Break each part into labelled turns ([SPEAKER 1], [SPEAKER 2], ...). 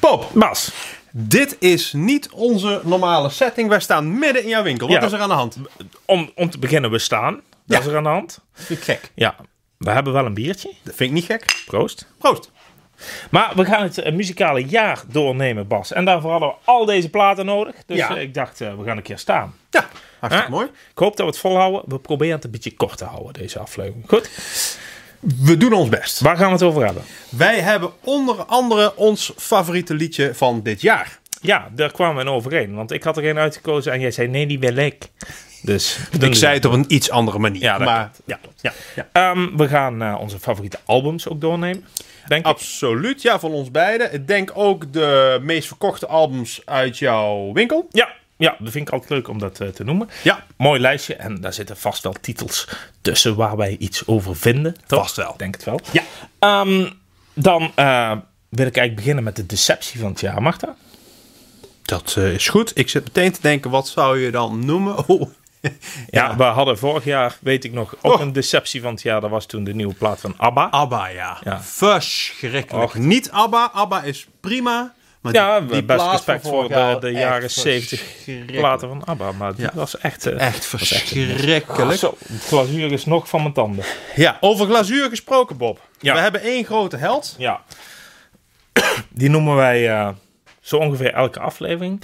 [SPEAKER 1] Pop,
[SPEAKER 2] Bas,
[SPEAKER 1] dit is niet onze normale setting. Wij staan midden in jouw winkel. Wat
[SPEAKER 2] Ja.
[SPEAKER 1] is er aan de hand?
[SPEAKER 2] om, om te beginnen, we staan. Dat
[SPEAKER 1] Ja.
[SPEAKER 2] is er aan de hand.
[SPEAKER 1] Gek.
[SPEAKER 2] Ja, we hebben wel een biertje.
[SPEAKER 1] Dat vind ik niet gek.
[SPEAKER 2] Proost.
[SPEAKER 1] Proost.
[SPEAKER 2] Maar we gaan het eh, muzikale jaar doornemen, Bas. En daarvoor hadden we al deze platen nodig. Dus
[SPEAKER 1] Ja.
[SPEAKER 2] eh, ik dacht, eh, we gaan een keer staan.
[SPEAKER 1] Ja, hartstikke
[SPEAKER 2] Hè?
[SPEAKER 1] mooi.
[SPEAKER 2] Ik hoop dat we het volhouden. We proberen het een beetje kort te houden, deze aflevering. Goed,
[SPEAKER 1] We doen ons best.
[SPEAKER 2] waar gaan we het over hebben?
[SPEAKER 1] Wij hebben onder andere ons favoriete liedje van dit jaar.
[SPEAKER 2] Ja, daar kwamen we in overeen. Want ik had er geen uitgekozen en jij zei, nee, die wil ik. Dus
[SPEAKER 1] Ik zei het op een iets andere manier.
[SPEAKER 2] Ja, dat
[SPEAKER 1] maar,
[SPEAKER 2] klopt.
[SPEAKER 1] ja, ja, ja.
[SPEAKER 2] Ehm, we gaan eh, onze favoriete albums ook doornemen. Denk ik.
[SPEAKER 1] Absoluut, ja, van ons beiden. Ik denk ook de meest verkochte albums uit jouw winkel.
[SPEAKER 2] Ja, ja, dat vind ik altijd leuk om dat eh, te noemen.
[SPEAKER 1] Ja.
[SPEAKER 2] Mooi lijstje. En daar zitten vast wel titels tussen waar wij iets over vinden. Toch?
[SPEAKER 1] Vast wel.
[SPEAKER 2] Ik Denk het wel.
[SPEAKER 1] Ja.
[SPEAKER 2] Ehm, dan eh, wil ik eigenlijk beginnen met de deceptie van het jaar, Marta.
[SPEAKER 1] Dat eh, is goed. Ik zit meteen te denken, wat zou je dan noemen? Oh.
[SPEAKER 2] Ja, we hadden vorig jaar, weet ik nog,
[SPEAKER 1] Oh.
[SPEAKER 2] ook
[SPEAKER 1] Ah,
[SPEAKER 2] een deceptie van het jaar. Dat was toen de nieuwe plaat van ABBA.
[SPEAKER 1] ABBA, ja.
[SPEAKER 2] Ja.
[SPEAKER 1] Verschrikkelijk.
[SPEAKER 2] Och.
[SPEAKER 1] Niet ABBA. ABBA is prima. Maar
[SPEAKER 2] ja,
[SPEAKER 1] die,
[SPEAKER 2] best
[SPEAKER 1] plaat
[SPEAKER 2] respect
[SPEAKER 1] van
[SPEAKER 2] voor
[SPEAKER 1] vorig
[SPEAKER 2] de,
[SPEAKER 1] jaar,
[SPEAKER 2] de
[SPEAKER 1] echt
[SPEAKER 2] jaren 70
[SPEAKER 1] verschrikkelijk.
[SPEAKER 2] platen van ABBA. Maar die
[SPEAKER 1] Ja.
[SPEAKER 2] was echt... eh,
[SPEAKER 1] Echt verschrikkelijk.
[SPEAKER 2] Zo, de glazuur is nog van mijn tanden.
[SPEAKER 1] Ja, over glazuur gesproken, Bob.
[SPEAKER 2] Ja.
[SPEAKER 1] We hebben één grote held.
[SPEAKER 2] Ja. Die noemen wij eh, zo ongeveer elke aflevering.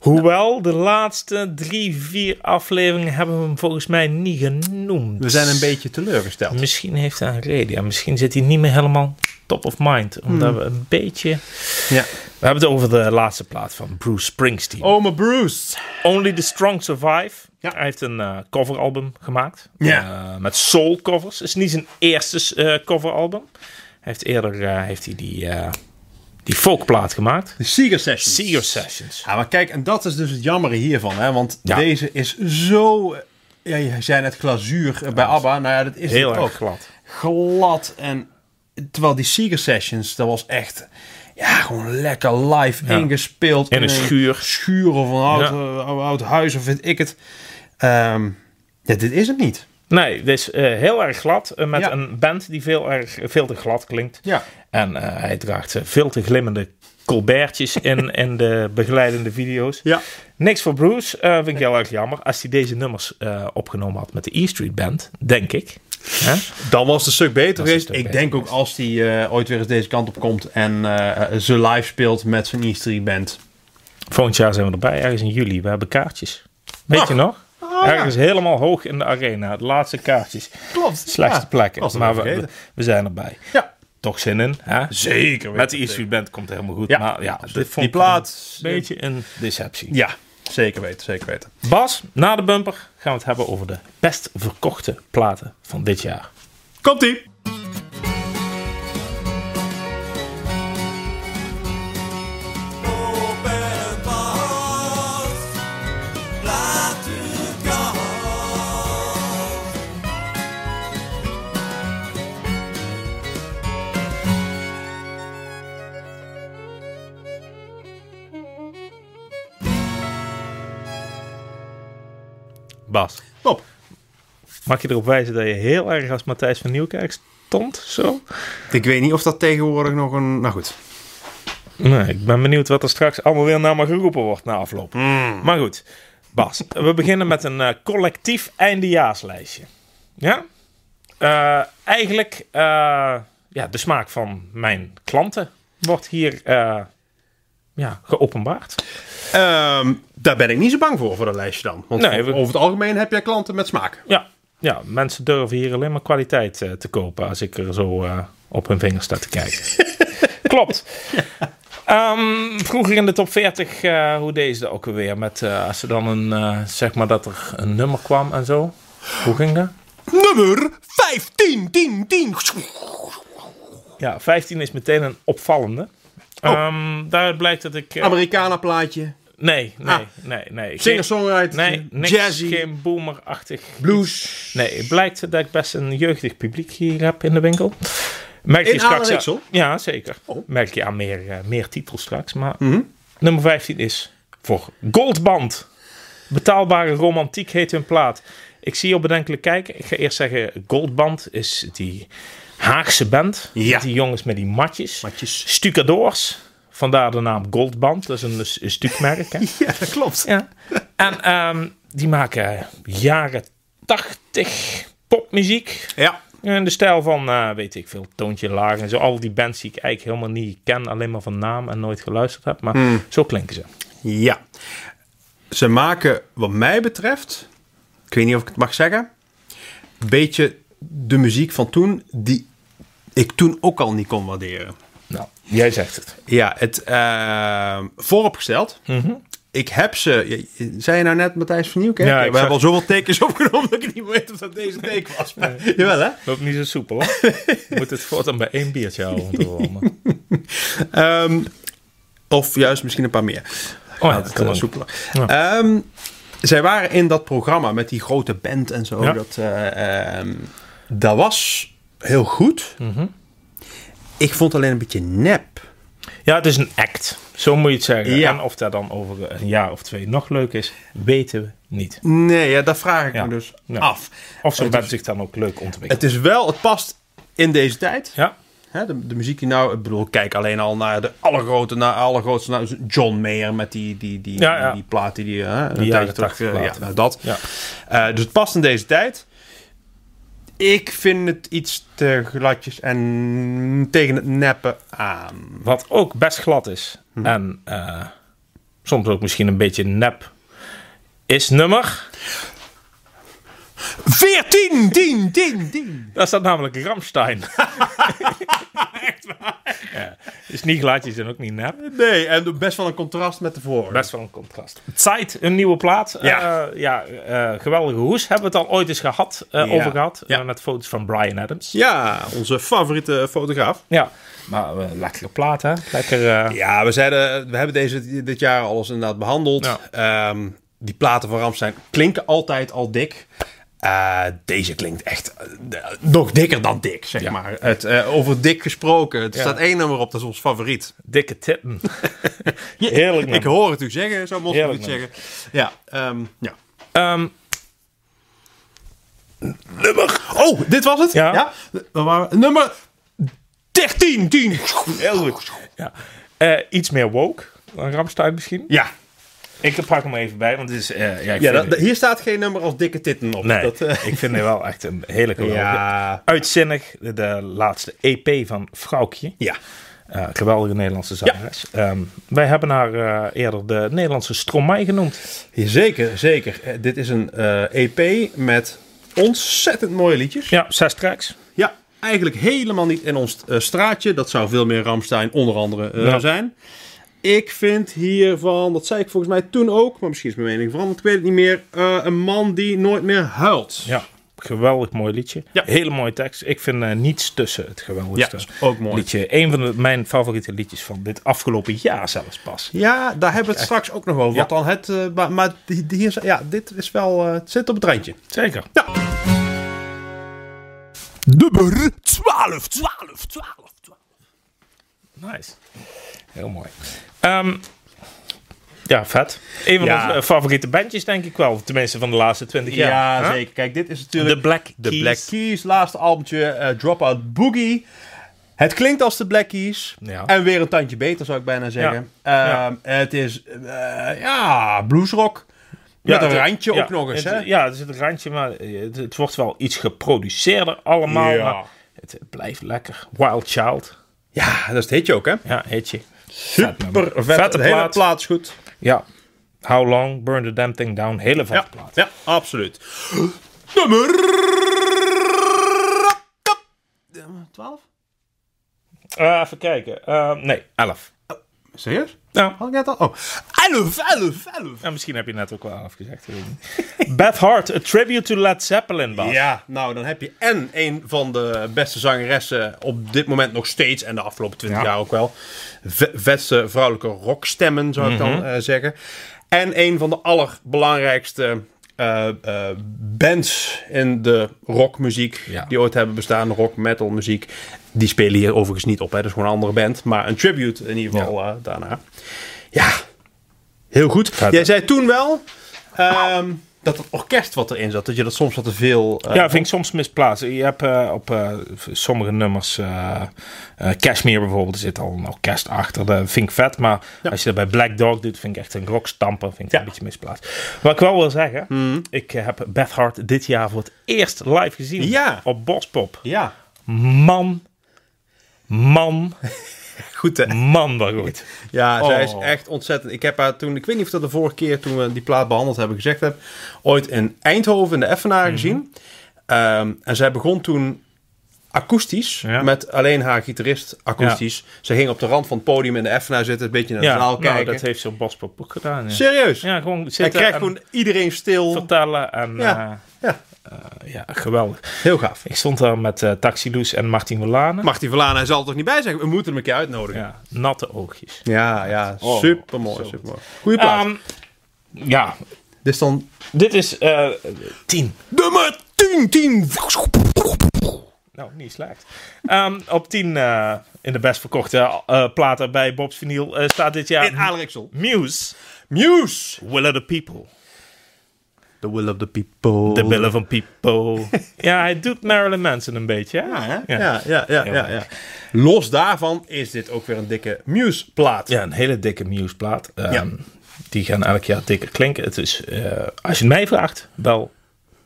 [SPEAKER 2] Hoewel, de laatste drie, vier afleveringen hebben we hem volgens mij niet genoemd.
[SPEAKER 1] We zijn een beetje teleurgesteld.
[SPEAKER 2] Misschien heeft hij een reden. Ja, misschien zit hij niet meer helemaal top of mind.
[SPEAKER 1] Hmm.
[SPEAKER 2] Omdat we een beetje...
[SPEAKER 1] Ja.
[SPEAKER 2] We hebben het over de laatste plaat van Bruce Springsteen.
[SPEAKER 1] Ome Bruce.
[SPEAKER 2] Only the Strong Survive.
[SPEAKER 1] Ja.
[SPEAKER 2] Hij heeft een eh, coveralbum gemaakt.
[SPEAKER 1] Ja.
[SPEAKER 2] Eh, met soul covers. Het is niet zijn eerste eh, coveralbum. Hij heeft eerder eh, heeft hij die, eh die folkplaat gemaakt.
[SPEAKER 1] De Seeger Sessions.
[SPEAKER 2] Seer Sessions.
[SPEAKER 1] Ja, maar kijk, en dat is dus het jammer hiervan. Hè? Want
[SPEAKER 2] Ja.
[SPEAKER 1] deze is zo... eh, Ja, je zei net glazuur eh, bij ABBA. Nou ja, dat is
[SPEAKER 2] Heel
[SPEAKER 1] het
[SPEAKER 2] erg
[SPEAKER 1] ook.
[SPEAKER 2] glad.
[SPEAKER 1] glad. En terwijl die Seeger Sessions, dat was echt ja, gewoon lekker live
[SPEAKER 2] Ja.
[SPEAKER 1] ingespeeld.
[SPEAKER 2] In een schuur.
[SPEAKER 1] schuur of een oud,
[SPEAKER 2] Ja.
[SPEAKER 1] eh, ou- oud huis of vind ik het. Ehm, ja, dit is het niet.
[SPEAKER 2] Nee, dus eh, heel erg glad. eh, met
[SPEAKER 1] Ja.
[SPEAKER 2] een band die veel, erg, veel te glad klinkt.
[SPEAKER 1] Ja.
[SPEAKER 2] En eh, hij draagt eh, veel te glimmende colbertjes in, in de begeleidende video's.
[SPEAKER 1] Ja.
[SPEAKER 2] Niks voor Bruce. eh, vind ik heel erg jammer. Als hij deze nummers eh, opgenomen had met de E Street Band, denk ik. Hè?
[SPEAKER 1] Dan was het een stuk beter
[SPEAKER 2] een
[SPEAKER 1] geweest.
[SPEAKER 2] stuk
[SPEAKER 1] ik
[SPEAKER 2] beter
[SPEAKER 1] denk ook als hij eh, ooit weer eens deze kant op komt en eh, ze live speelt met zijn E Street Band.
[SPEAKER 2] Volgend jaar zijn we erbij, ergens in juli. We hebben kaartjes. Weet je nog?
[SPEAKER 1] Oh, ja.
[SPEAKER 2] ergens helemaal hoog in de arena. De laatste kaartjes.
[SPEAKER 1] Klopt.
[SPEAKER 2] Slechtste plekken. Maar we, we,
[SPEAKER 1] vergeten.
[SPEAKER 2] we zijn erbij.
[SPEAKER 1] Ja.
[SPEAKER 2] Toch zin in? Hè?
[SPEAKER 1] Zeker weten.
[SPEAKER 2] Met de E-Street Band komt het helemaal goed.
[SPEAKER 1] Ja.
[SPEAKER 2] Maar ja, dit vond
[SPEAKER 1] Die
[SPEAKER 2] ik
[SPEAKER 1] plaat.
[SPEAKER 2] Een beetje een deceptie.
[SPEAKER 1] Ja, zeker weten, zeker weten.
[SPEAKER 2] Bas, na de bumper gaan we het hebben over de best verkochte platen van dit jaar.
[SPEAKER 1] Komt-ie!
[SPEAKER 2] Bas,
[SPEAKER 1] Top.
[SPEAKER 2] mag je erop wijzen dat je heel erg als Matthijs van Nieuwkerk stond? Zo?
[SPEAKER 1] Ik weet niet of dat tegenwoordig nog een... Nou goed.
[SPEAKER 2] Nee, ik ben benieuwd wat er straks allemaal weer naar me geroepen wordt na afloop. Maar goed, Bas, we beginnen met een eh, collectief eindejaarslijstje. Ja? Eh, eigenlijk, eh, ja, de smaak van mijn klanten wordt hier eh, ja, geopenbaard.
[SPEAKER 1] Ehm, daar ben ik niet zo bang voor, voor dat lijstje dan. Want
[SPEAKER 2] Nee, we-
[SPEAKER 1] over het algemeen heb jij klanten met smaak.
[SPEAKER 2] Ja, ja, mensen durven hier alleen maar kwaliteit eh, te kopen als ik er zo eh, op hun vingers sta te kijken. Klopt. Ehm, vroeger in de top 40, eh, hoe deden ze dat ook alweer? Met, eh, als ze dan een, eh, zeg maar dat er een nummer kwam en zo. Hoe ging dat?
[SPEAKER 1] Nummer 15, 10, 10.
[SPEAKER 2] Ja, 15 is meteen een opvallende. Ehm, daaruit blijkt dat ik... eh,
[SPEAKER 1] Americana plaatje.
[SPEAKER 2] nee, nee,
[SPEAKER 1] Ah.
[SPEAKER 2] nee, nee.
[SPEAKER 1] Singer-songwriter.
[SPEAKER 2] Nee, niks,
[SPEAKER 1] jazzy.
[SPEAKER 2] geen boomerachtig.
[SPEAKER 1] Blues.
[SPEAKER 2] Nee, het blijkt dat ik best een jeugdig publiek hier heb in de winkel. Merk je
[SPEAKER 1] In Oh.
[SPEAKER 2] straks eh,
[SPEAKER 1] alle Riksel?
[SPEAKER 2] Ja, zeker. Merk je aan meer, eh, meer titels straks. Maar
[SPEAKER 1] Mhm.
[SPEAKER 2] nummer 15 is voor Goldband. Betaalbare romantiek heet hun plaat. Ik zie je al bedenkelijk kijken. Ik ga eerst zeggen, Goldband is die Haagse band.
[SPEAKER 1] Ja.
[SPEAKER 2] Die jongens met die matjes.
[SPEAKER 1] Matjes.
[SPEAKER 2] Stucadoors. Vandaar de naam Goldband. Dat is een, s- een stukmerk. Hè?
[SPEAKER 1] Ja, dat klopt.
[SPEAKER 2] Ja. En ehm, die maken jaren 80 popmuziek.
[SPEAKER 1] Ja.
[SPEAKER 2] In de stijl van, eh, weet ik veel, Toontje Laag en zo. Al die bands die ik eigenlijk helemaal niet ken, alleen maar van naam en nooit geluisterd heb. Maar zo klinken ze.
[SPEAKER 1] Ja. Ze maken, wat mij betreft, ik weet niet of ik het mag zeggen, een beetje de muziek van toen die ik toen ook al niet kon waarderen.
[SPEAKER 2] Nou, jij zegt het.
[SPEAKER 1] Ja, het eh, vooropgesteld. Ik heb ze. je- Zei je nou net Matthijs van Nieuwkerk?
[SPEAKER 2] Ja, ik
[SPEAKER 1] We
[SPEAKER 2] zag-
[SPEAKER 1] hebben al zoveel tekens opgenomen dat ik niet meer weet of dat deze teken was. Maar, Jawel, hè?
[SPEAKER 2] Loopt niet zo soepel, hoor. Je moet het voortaan bij één biertje houden om te komen.
[SPEAKER 1] Ehm, of juist misschien een paar meer.
[SPEAKER 2] Oh,
[SPEAKER 1] Nou, dat kan wel soepeler.
[SPEAKER 2] Ja.
[SPEAKER 1] Ehm, zij waren in dat programma met die grote band en zo.
[SPEAKER 2] Ja.
[SPEAKER 1] Dat, eh, ehm, dat was heel goed. Ik vond alleen een beetje nep.
[SPEAKER 2] Ja, het is een act. Zo moet je het zeggen.
[SPEAKER 1] Ja.
[SPEAKER 2] En of dat dan over een jaar of twee nog leuk is, weten we niet.
[SPEAKER 1] Nee, ja, dat vraag ik
[SPEAKER 2] Ja.
[SPEAKER 1] me dus
[SPEAKER 2] Ja.
[SPEAKER 1] af.
[SPEAKER 2] Of ze
[SPEAKER 1] Het
[SPEAKER 2] hebben zich dan ook leuk ontwikkeld.
[SPEAKER 1] Het is wel, het past in deze tijd.
[SPEAKER 2] Ja,
[SPEAKER 1] Hè, de, de muziek die nou, ik bedoel, kijk alleen al naar de allergrote, naar allergrootste, naar John Mayer met die, die, die,
[SPEAKER 2] Ja, ja.
[SPEAKER 1] die plaat die die, hè, een
[SPEAKER 2] Die
[SPEAKER 1] tijdje
[SPEAKER 2] jaren
[SPEAKER 1] terug,
[SPEAKER 2] 80
[SPEAKER 1] eh,
[SPEAKER 2] plaat.
[SPEAKER 1] ja, nou dat.
[SPEAKER 2] ja.
[SPEAKER 1] Eh, dus het past in deze tijd. Ik vind het iets te gladjes en tegen het neppen aan.
[SPEAKER 2] Wat ook best glad is. En eh, soms ook misschien een beetje nep. Is nummer.
[SPEAKER 1] 14, 10, 10, 10.
[SPEAKER 2] Daar staat namelijk Ramstein. Echt waar? Ja. Is niet gladjes en ook niet nep.
[SPEAKER 1] Nee, en best wel een contrast met de vorige.
[SPEAKER 2] Best wel een contrast. Zeit, een nieuwe plaat.
[SPEAKER 1] Ja.
[SPEAKER 2] Ja, ja eh, geweldige hoes. Hebben we het al ooit eens gehad, eh,
[SPEAKER 1] Ja.
[SPEAKER 2] over gehad.
[SPEAKER 1] Ja.
[SPEAKER 2] Eh, met foto's van Brian Adams.
[SPEAKER 1] Ja, onze favoriete fotograaf.
[SPEAKER 2] Ja, maar eh, lekkere plaat, hè? Lekker. eh,
[SPEAKER 1] Ja, we, zeiden, we hebben deze, dit jaar alles inderdaad behandeld. Ehm, die platen van Ramstein klinken altijd al dik. Eh, deze klinkt echt eh, nog dikker dan dik, zeg
[SPEAKER 2] Ja.
[SPEAKER 1] maar. Het, eh, over dik gesproken. Er staat één nummer op, dat is ons favoriet.
[SPEAKER 2] dikke titten. Heerlijk, man.
[SPEAKER 1] Ik hoor het u zeggen, zo moest ik
[SPEAKER 2] Heerlijk,
[SPEAKER 1] het zeggen. Ja, ehm, ja.
[SPEAKER 2] Ehm,
[SPEAKER 1] Oh, dit was het?
[SPEAKER 2] Ja.
[SPEAKER 1] Waar waren we? Nummer 13, 10.
[SPEAKER 2] heel goed. Ja. Eh, iets meer woke dan Ramstein misschien.
[SPEAKER 1] Ja,
[SPEAKER 2] Ik pak hem even bij, want het is... eh, ja,
[SPEAKER 1] ja
[SPEAKER 2] ik vind
[SPEAKER 1] dat,
[SPEAKER 2] het-
[SPEAKER 1] dat- hier staat geen nummer als dikke titten op.
[SPEAKER 2] Nee,
[SPEAKER 1] Dat, eh,
[SPEAKER 2] ik vind het wel echt een hele geweldige.
[SPEAKER 1] ja.
[SPEAKER 2] Uitzinnig, de, de laatste EP van Vrouwkje.
[SPEAKER 1] Ja.
[SPEAKER 2] Eh, geweldige Nederlandse zangeres. Ehm, wij hebben haar eh, eerder de Nederlandse Stromae genoemd.
[SPEAKER 1] Zeker, zeker. Eh, Dit is een eh, EP met ontzettend mooie liedjes.
[SPEAKER 2] Ja, zes tracks.
[SPEAKER 1] Ja, eigenlijk helemaal niet in ons eh, straatje. Dat zou veel meer Ramstein onder andere eh,
[SPEAKER 2] Ja.
[SPEAKER 1] zijn. Ik vind hiervan, dat zei ik volgens mij toen ook, maar misschien is mijn mening veranderd, ik weet het niet meer, eh, een man die nooit meer huilt.
[SPEAKER 2] Ja, geweldig mooi liedje.
[SPEAKER 1] Ja.
[SPEAKER 2] Hele mooie tekst. Ik vind eh, niets tussen het geweldigste
[SPEAKER 1] Ja, is ook mooi.
[SPEAKER 2] liedje. Een van de- mijn favoriete liedjes van dit afgelopen jaar zelfs pas.
[SPEAKER 1] Ja, daar hebben we het straks ook nog over. Wat
[SPEAKER 2] Ja.
[SPEAKER 1] dan het, eh, maar maar die- die hier, ja, dit is wel, eh, het zit op het randje.
[SPEAKER 2] Zeker.
[SPEAKER 1] Nummer 12, 12, 12.
[SPEAKER 2] Nice. Heel mooi. Ehm, ja, vet. Een van
[SPEAKER 1] Ja.
[SPEAKER 2] onze eh, favoriete bandjes, denk ik wel. Tenminste, van de laatste 20 jaar.
[SPEAKER 1] Ja,
[SPEAKER 2] Huh?
[SPEAKER 1] zeker. Kijk, dit is natuurlijk...
[SPEAKER 2] De Black
[SPEAKER 1] De
[SPEAKER 2] Keys.
[SPEAKER 1] Black Keys, laatste albumtje, eh, Dropout Boogie. Het klinkt als de Black Keys.
[SPEAKER 2] Ja.
[SPEAKER 1] En weer een tandje beter, zou ik bijna zeggen.
[SPEAKER 2] Ja.
[SPEAKER 1] Ehm, Het is, eh, ja, bluesrock. Met een
[SPEAKER 2] het-
[SPEAKER 1] randje
[SPEAKER 2] ja,
[SPEAKER 1] ook nog eens,
[SPEAKER 2] het-
[SPEAKER 1] hè?
[SPEAKER 2] Ja, er zit een randje, maar eh, het, het wordt wel iets geproduceerder allemaal.
[SPEAKER 1] Ja.
[SPEAKER 2] Maar het, het blijft lekker. Wild Child.
[SPEAKER 1] Ja, dat is het hitje ook, hè?
[SPEAKER 2] Ja, heet je.
[SPEAKER 1] Super vet.
[SPEAKER 2] Vette
[SPEAKER 1] de hele
[SPEAKER 2] plaat.
[SPEAKER 1] plaat is goed.
[SPEAKER 2] Ja. How Long, Burn the Damn Thing Down. Hele vette
[SPEAKER 1] Ja,
[SPEAKER 2] plaat.
[SPEAKER 1] ja, absoluut. Nummer... 12?
[SPEAKER 2] Eh, even kijken. Eh, nee, 11.
[SPEAKER 1] Serieus?
[SPEAKER 2] Nou,
[SPEAKER 1] Had ik net al? Oh. 11, 11, 11.
[SPEAKER 2] ja, misschien heb je net ook wel 11 gezegd. ik weet het niet. Beth Hart, A Tribute to Led Zeppelin, Bas.
[SPEAKER 1] Ja, nou dan heb je en een van de beste zangeressen op dit moment nog steeds en de afgelopen 20
[SPEAKER 2] Ja.
[SPEAKER 1] jaar ook wel. Ve- Vetste vrouwelijke rockstemmen zou ik
[SPEAKER 2] Mhm.
[SPEAKER 1] dan eh, zeggen. En een van de allerbelangrijkste eh, eh, bands in de rockmuziek
[SPEAKER 2] Ja.
[SPEAKER 1] die ooit hebben bestaan, rock metal muziek. Die spelen hier overigens niet op, hè. dat is gewoon een andere band, maar een tribute in ieder geval eh, daarna. Ja, heel goed.
[SPEAKER 2] Vet,
[SPEAKER 1] Jij
[SPEAKER 2] hè?
[SPEAKER 1] zei toen wel. ehm, dat het orkest wat erin zat, dat je dat soms wat te veel... eh,
[SPEAKER 2] ja, vind ik soms misplaatst. Je hebt eh, op eh, sommige nummers, eh eh, Cashmere bijvoorbeeld, er zit al een orkest achter. Dat vind ik vet, maar als je dat bij Black Dog doet, vind ik echt een rockstamper. Vind ik een beetje misplaatst. Wat ik wel wil zeggen,
[SPEAKER 1] Hmm.
[SPEAKER 2] ik eh, heb Beth Hart dit jaar voor het eerst live gezien
[SPEAKER 1] Ja.
[SPEAKER 2] op Bospop.
[SPEAKER 1] ja,
[SPEAKER 2] Man, man,
[SPEAKER 1] goed hè.
[SPEAKER 2] man, wel goed.
[SPEAKER 1] Ja, zij is
[SPEAKER 2] Oh.
[SPEAKER 1] echt ontzettend. Ik heb haar toen, ik weet niet of dat de vorige keer toen we die plaat behandeld hebben gezegd heb, ooit in Eindhoven in de Effenaar
[SPEAKER 2] Mhm.
[SPEAKER 1] gezien. Ehm, en zij begon toen akoestisch,
[SPEAKER 2] Ja.
[SPEAKER 1] met alleen haar gitarist akoestisch. Ze ging op de rand van het podium in de Effenaar zitten, een beetje naar de
[SPEAKER 2] Ja,
[SPEAKER 1] zaal
[SPEAKER 2] nou,
[SPEAKER 1] kijken.
[SPEAKER 2] dat heeft ze op Bospop ook gedaan. Ja,
[SPEAKER 1] Serieus?
[SPEAKER 2] ja eh, gewoon
[SPEAKER 1] Hij
[SPEAKER 2] zitten
[SPEAKER 1] krijgt
[SPEAKER 2] en
[SPEAKER 1] gewoon iedereen stil.
[SPEAKER 2] vertellen en
[SPEAKER 1] Ja. Ja,
[SPEAKER 2] eh, ja, geweldig.
[SPEAKER 1] heel gaaf.
[SPEAKER 2] Ik stond daar met eh Taxi Loes en Martin Verlanen.
[SPEAKER 1] Mag die Verlaan, hij zal er toch niet bij zijn? We moeten hem een keer uitnodigen.
[SPEAKER 2] Ja, natte oogjes.
[SPEAKER 1] Ja, ja,
[SPEAKER 2] Oh,
[SPEAKER 1] supermooi,
[SPEAKER 2] zo.
[SPEAKER 1] supermooi. Goeie plaat.
[SPEAKER 2] Ehm, ja,
[SPEAKER 1] Dit is dan
[SPEAKER 2] dit is eh tien.
[SPEAKER 1] nummer 10, 10.
[SPEAKER 2] Nou, niet slecht. Ehm, op tien eh, in de best verkochte eh, platen bij Bob's Vinyl eh, staat dit jaar
[SPEAKER 1] In Aalriksel.
[SPEAKER 2] Muse,
[SPEAKER 1] Muse.
[SPEAKER 2] Will of the People.
[SPEAKER 1] The will of the people.
[SPEAKER 2] De billen van people. ja, hij doet Marilyn Manson een beetje. hè?
[SPEAKER 1] Ja, hè?
[SPEAKER 2] Ja.
[SPEAKER 1] ja, ja, ja, ja, ja. Los daarvan is dit ook weer een dikke Muse-plaat.
[SPEAKER 2] Ja, een hele dikke Muse-plaat. Ehm,
[SPEAKER 1] Ja.
[SPEAKER 2] Die gaan elk jaar dikker klinken. Het is, eh, als je het mij vraagt, wel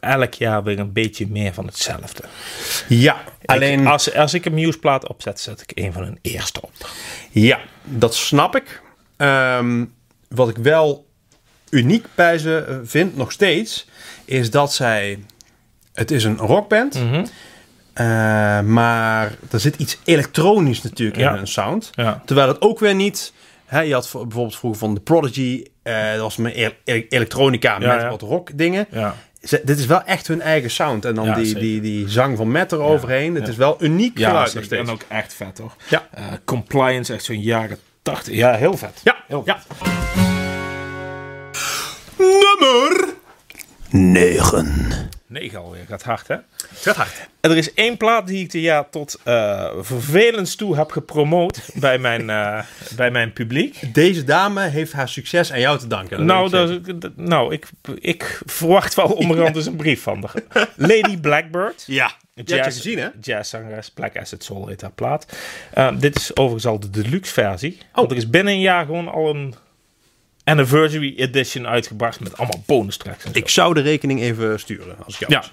[SPEAKER 2] elk jaar weer een beetje meer van hetzelfde.
[SPEAKER 1] Ja, alleen...
[SPEAKER 2] Ik- als, als ik een Muse-plaat opzet, zet ik een van hun eerste op.
[SPEAKER 1] Ja, dat snap ik. Ehm, wat ik wel uniek bij ze eh, vind, nog steeds, is dat zij. Het is een rockband,
[SPEAKER 2] Mhm.
[SPEAKER 1] eh, maar er zit iets elektronisch natuurlijk
[SPEAKER 2] Ja.
[SPEAKER 1] in hun sound.
[SPEAKER 2] Ja.
[SPEAKER 1] Terwijl het ook weer niet. Hè, je had voor- bijvoorbeeld vroeger van The Prodigy, eh, dat was meer e- e- elektronica
[SPEAKER 2] Ja,
[SPEAKER 1] met
[SPEAKER 2] ja.
[SPEAKER 1] wat rockdingen.
[SPEAKER 2] Ja.
[SPEAKER 1] Ze- dit is wel echt hun eigen sound. En dan
[SPEAKER 2] Ja,
[SPEAKER 1] die,
[SPEAKER 2] zeker.
[SPEAKER 1] die, die zang van Matt eroverheen. Het is wel uniek geluid nog steeds.
[SPEAKER 2] en ook echt vet hoor.
[SPEAKER 1] Ja.
[SPEAKER 2] Eh, compliance, echt zo'n jaren 80. Ja, heel vet.
[SPEAKER 1] Ja,
[SPEAKER 2] heel
[SPEAKER 1] ja. Nummer 9.
[SPEAKER 2] 9 alweer, gaat hard hè.
[SPEAKER 1] Gaat hard.
[SPEAKER 2] En er is één plaat die ik dit jaar tot eh vervelens toe heb gepromoot bij mijn, eh, bij mijn publiek.
[SPEAKER 1] Deze dame heeft haar succes aan jou te danken. dat
[SPEAKER 2] Nou,
[SPEAKER 1] weet ik zeker.
[SPEAKER 2] dat, dat- nou ik, ik verwacht wel onderhand eens een brief van haar. Lady Blackbird.
[SPEAKER 1] Ja, dat heb je gezien hè?
[SPEAKER 2] Jazzzangeres, Black Asset Soul heet haar plaat. Eh, dit is overigens al de deluxe versie.
[SPEAKER 1] Oh.
[SPEAKER 2] Want er is binnen een jaar gewoon al een anniversary edition uitgebracht met allemaal bonus tracks. en zo.
[SPEAKER 1] Ik zou de rekening even sturen als ik jou
[SPEAKER 2] Ja.
[SPEAKER 1] was.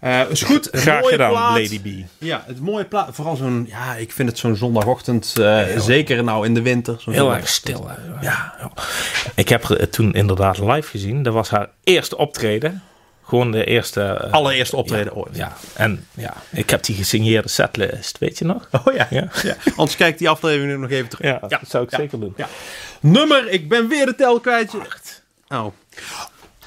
[SPEAKER 1] Eh, is goed.
[SPEAKER 2] Graag
[SPEAKER 1] Mooie
[SPEAKER 2] gedaan,
[SPEAKER 1] plaat.
[SPEAKER 2] Lady B.
[SPEAKER 1] Ja, het mooie plaat. Vooral zo'n, ja, ik vind het zo'n zondagochtend, eh, zeker nou in de winter. zo'n
[SPEAKER 2] Heel
[SPEAKER 1] zondag-
[SPEAKER 2] erg stil. hè. Ja. ja. Ik heb het toen inderdaad live gezien. Dat was haar eerste optreden. Gewoon de eerste... eh,
[SPEAKER 1] Allereerste optreden ooit.
[SPEAKER 2] ja, en ja, ik heb die gesigneerde setlist, weet je nog?
[SPEAKER 1] Oh ja.
[SPEAKER 2] Ja.
[SPEAKER 1] ja. Anders kijk die aflevering nog even terug.
[SPEAKER 2] Ja, dat zou ik
[SPEAKER 1] ja,
[SPEAKER 2] zeker doen.
[SPEAKER 1] Ja. Nummer, ik ben weer de tel kwijt. Acht. Oh.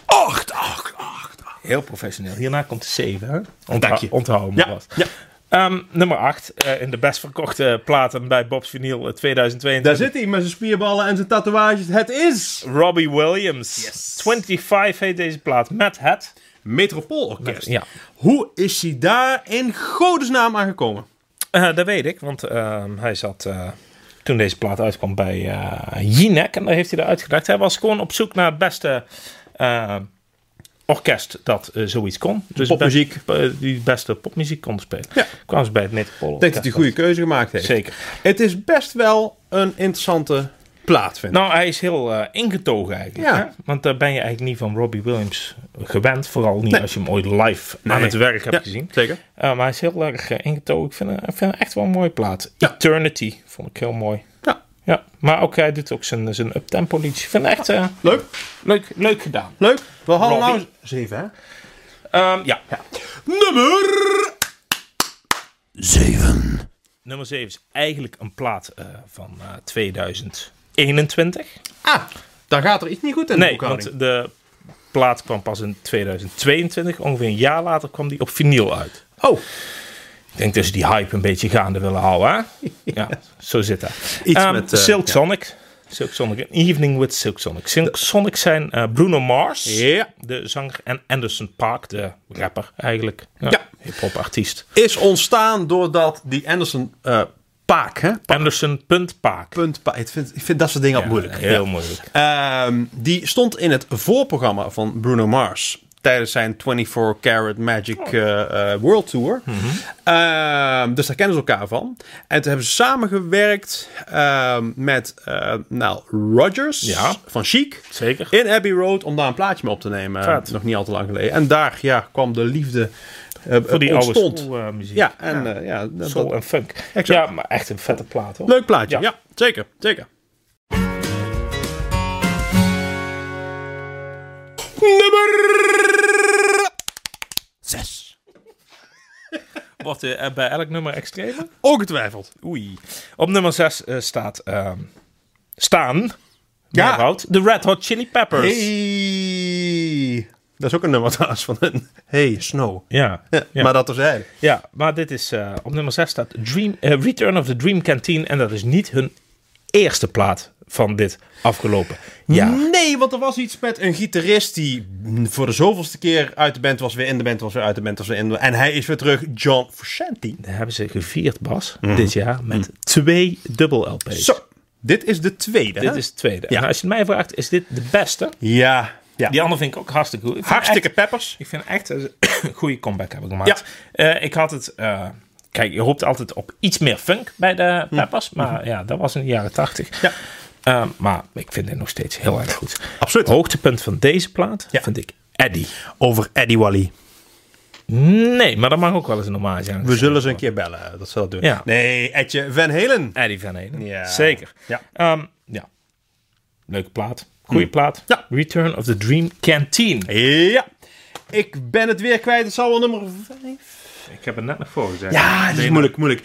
[SPEAKER 1] Acht, acht, acht. acht.
[SPEAKER 2] Heel professioneel. Hierna komt de 7, hè?
[SPEAKER 1] Dank je.
[SPEAKER 2] Onthouden me
[SPEAKER 1] Ja,
[SPEAKER 2] wat.
[SPEAKER 1] ja.
[SPEAKER 2] Ehm, nummer 8, in de best verkochte platen bij Bob's Vinyl eh, 2022.
[SPEAKER 1] Daar zit hij met zijn spierballen en zijn tatoeages. Het is
[SPEAKER 2] Robbie Williams. 25 heet deze plaat. Met het.
[SPEAKER 1] Metropoolorkest.
[SPEAKER 2] Ja.
[SPEAKER 1] Hoe is hij daar in godesnaam aangekomen?
[SPEAKER 2] Eh, dat weet ik, want ehm, hij zat eh, toen deze plaat uitkwam bij eh Jinek. En daar heeft hij eruit gedacht. Hij was gewoon op zoek naar het beste eh, orkest dat eh, zoiets kon. Dus
[SPEAKER 1] Popmuziek.
[SPEAKER 2] be- eh, die beste popmuziek kon spelen.
[SPEAKER 1] Ja.
[SPEAKER 2] Kwamen ze bij het Metropool.
[SPEAKER 1] Ik denk dat hij een goede keuze gemaakt heeft.
[SPEAKER 2] Zeker.
[SPEAKER 1] Het is best wel een interessante plaat, vind ik.
[SPEAKER 2] Nou, hij is heel eh, ingetogen eigenlijk.
[SPEAKER 1] Ja.
[SPEAKER 2] Hè? Want daar ben je eigenlijk niet van Robbie Williams gewend. Vooral niet als je hem ooit live aan
[SPEAKER 1] Nee.
[SPEAKER 2] het werk hebt
[SPEAKER 1] Ja,
[SPEAKER 2] gezien.
[SPEAKER 1] Zeker.
[SPEAKER 2] Eh, maar hij is heel erg eh, ingetogen. Ik vind, hem- ik vind hem echt wel een mooie plaat.
[SPEAKER 1] Ja.
[SPEAKER 2] Eternity vond ik heel mooi.
[SPEAKER 1] Ja.
[SPEAKER 2] Ja, maar ook hij doet ook zijn, zijn uptempo liedje. Ik vind het echt eh,
[SPEAKER 1] Leuk,
[SPEAKER 2] leuk, leuk gedaan.
[SPEAKER 1] leuk. We hadden
[SPEAKER 2] Robbie.
[SPEAKER 1] nou zeven, hè?
[SPEAKER 2] Ehm, ja.
[SPEAKER 1] Nummer... Zeven.
[SPEAKER 2] nummer 7 is eigenlijk een plaat eh, van eh, 2021.
[SPEAKER 1] Ah, daar gaat er iets niet goed in de
[SPEAKER 2] Nee,
[SPEAKER 1] boekhouding.
[SPEAKER 2] want de plaat kwam pas in 2022. Ongeveer een jaar later kwam die op vinyl uit.
[SPEAKER 1] Oh,
[SPEAKER 2] Ik denk dat ze die hype een beetje gaande willen houden. Hè? Ja, zo zit dat.
[SPEAKER 1] Iets
[SPEAKER 2] Ehm,
[SPEAKER 1] met, eh,
[SPEAKER 2] Silk
[SPEAKER 1] ja.
[SPEAKER 2] Sonic. Silk Sonic. An Evening with Silk Sonic. Silk Sonic zijn eh, Bruno Mars,
[SPEAKER 1] Ja.
[SPEAKER 2] de zanger, en Anderson Park, de rapper eigenlijk. Ja.
[SPEAKER 1] Ja.
[SPEAKER 2] Hip-hop artiest.
[SPEAKER 1] is ontstaan doordat die Anderson eh, Paak, hè?
[SPEAKER 2] Anderson punt Paak.
[SPEAKER 1] Punt Paak. Ik vind, ik vind dat soort dingen
[SPEAKER 2] Ja,
[SPEAKER 1] al moeilijk.
[SPEAKER 2] Heel
[SPEAKER 1] Ja.
[SPEAKER 2] moeilijk.
[SPEAKER 1] Ehm, die stond in het voorprogramma van Bruno Mars. Tijdens zijn 24 Karat Magic
[SPEAKER 2] Oh.
[SPEAKER 1] eh, eh, World Tour.
[SPEAKER 2] Mhm.
[SPEAKER 1] Ehm, dus daar kennen ze elkaar van. En toen hebben ze samengewerkt ehm, met eh, nou, Rogers
[SPEAKER 2] Ja.
[SPEAKER 1] van Chic.
[SPEAKER 2] Zeker.
[SPEAKER 1] In Abbey Road om daar een plaatje mee op te nemen.
[SPEAKER 2] Vet.
[SPEAKER 1] Nog niet al te lang geleden. En daar ja, kwam de liefde eh
[SPEAKER 2] Voor die oude
[SPEAKER 1] ontstond.
[SPEAKER 2] school, eh, muziek.
[SPEAKER 1] ja, en eh, ja, dat-
[SPEAKER 2] Soul en funk.
[SPEAKER 1] Exact.
[SPEAKER 2] Ja, maar echt een vette plaat hoor.
[SPEAKER 1] Leuk plaatje,
[SPEAKER 2] Ja.
[SPEAKER 1] ja. zeker, zeker. Nummer 6.
[SPEAKER 2] Wordt eh, bij elk nummer extremer?
[SPEAKER 1] Ongetwijfeld.
[SPEAKER 2] Oei. Op nummer 6 staat... ehm, staan.
[SPEAKER 1] Ja.
[SPEAKER 2] Meerwoud, de Red Hot Chili Peppers.
[SPEAKER 1] Hey. Dat is ook een nummer trouwens van een... Hey, Snow.
[SPEAKER 2] Ja.
[SPEAKER 1] Ja,
[SPEAKER 2] Ja.
[SPEAKER 1] Maar dat was hij.
[SPEAKER 2] Ja, maar dit is eh, op nummer 6 staat Dream, eh, Return of the Dream Canteen. En dat is niet hun eerste plaat van dit afgelopen jaar.
[SPEAKER 1] Nee, want er was iets met een gitarist die mm, voor de zoveelste keer uit de band was, weer in de band was, weer uit de band was, weer in de En hij is weer terug, John Frusciante.
[SPEAKER 2] Daar hebben ze gevierd, Bas,
[SPEAKER 1] Mm.
[SPEAKER 2] dit jaar met twee dubbel LP's.
[SPEAKER 1] Zo, dit is de tweede.
[SPEAKER 2] Dit
[SPEAKER 1] hè?
[SPEAKER 2] is het tweede.
[SPEAKER 1] Ja.
[SPEAKER 2] En als je het mij vraagt, is dit de beste?
[SPEAKER 1] Ja, ja.
[SPEAKER 2] Die andere vind ik ook hartstikke goed. Ik vind
[SPEAKER 1] Hartstikke peppers.
[SPEAKER 2] echt- ik vind echt een goede comeback hebben gemaakt. Eh, ik had het... eh, kijk, je hoopt altijd op iets meer funk bij de Peppers. Maar ja, dat was in de jaren tachtig.
[SPEAKER 1] Mm. Mm-hmm. Ja.
[SPEAKER 2] Eh, maar ik vind het nog steeds heel erg goed.
[SPEAKER 1] Absoluut.
[SPEAKER 2] Hoogtepunt van deze plaat
[SPEAKER 1] Ja.
[SPEAKER 2] vind ik Eddie.
[SPEAKER 1] Over Eddie Wally.
[SPEAKER 2] Nee, maar dat mag ook wel eens een hommage aan.
[SPEAKER 1] We zullen ze een keer bellen. eh, Dat zal dat doen.
[SPEAKER 2] Ja.
[SPEAKER 1] Nee, Edje Van Helen.
[SPEAKER 2] Eddie Van Halen.
[SPEAKER 1] Ja.
[SPEAKER 2] Zeker.
[SPEAKER 1] Ja. Mm.
[SPEAKER 2] Ehm, ja. Leuke plaat. Goeie plaat.
[SPEAKER 1] Ja.
[SPEAKER 2] Return of the Dream Canteen.
[SPEAKER 1] Ja. Ik ben het weer kwijt. Het zal wel nummer 5.
[SPEAKER 2] Ik heb het net nog voor gezegd.
[SPEAKER 1] Ja, dat is moeilijk, moeilijk.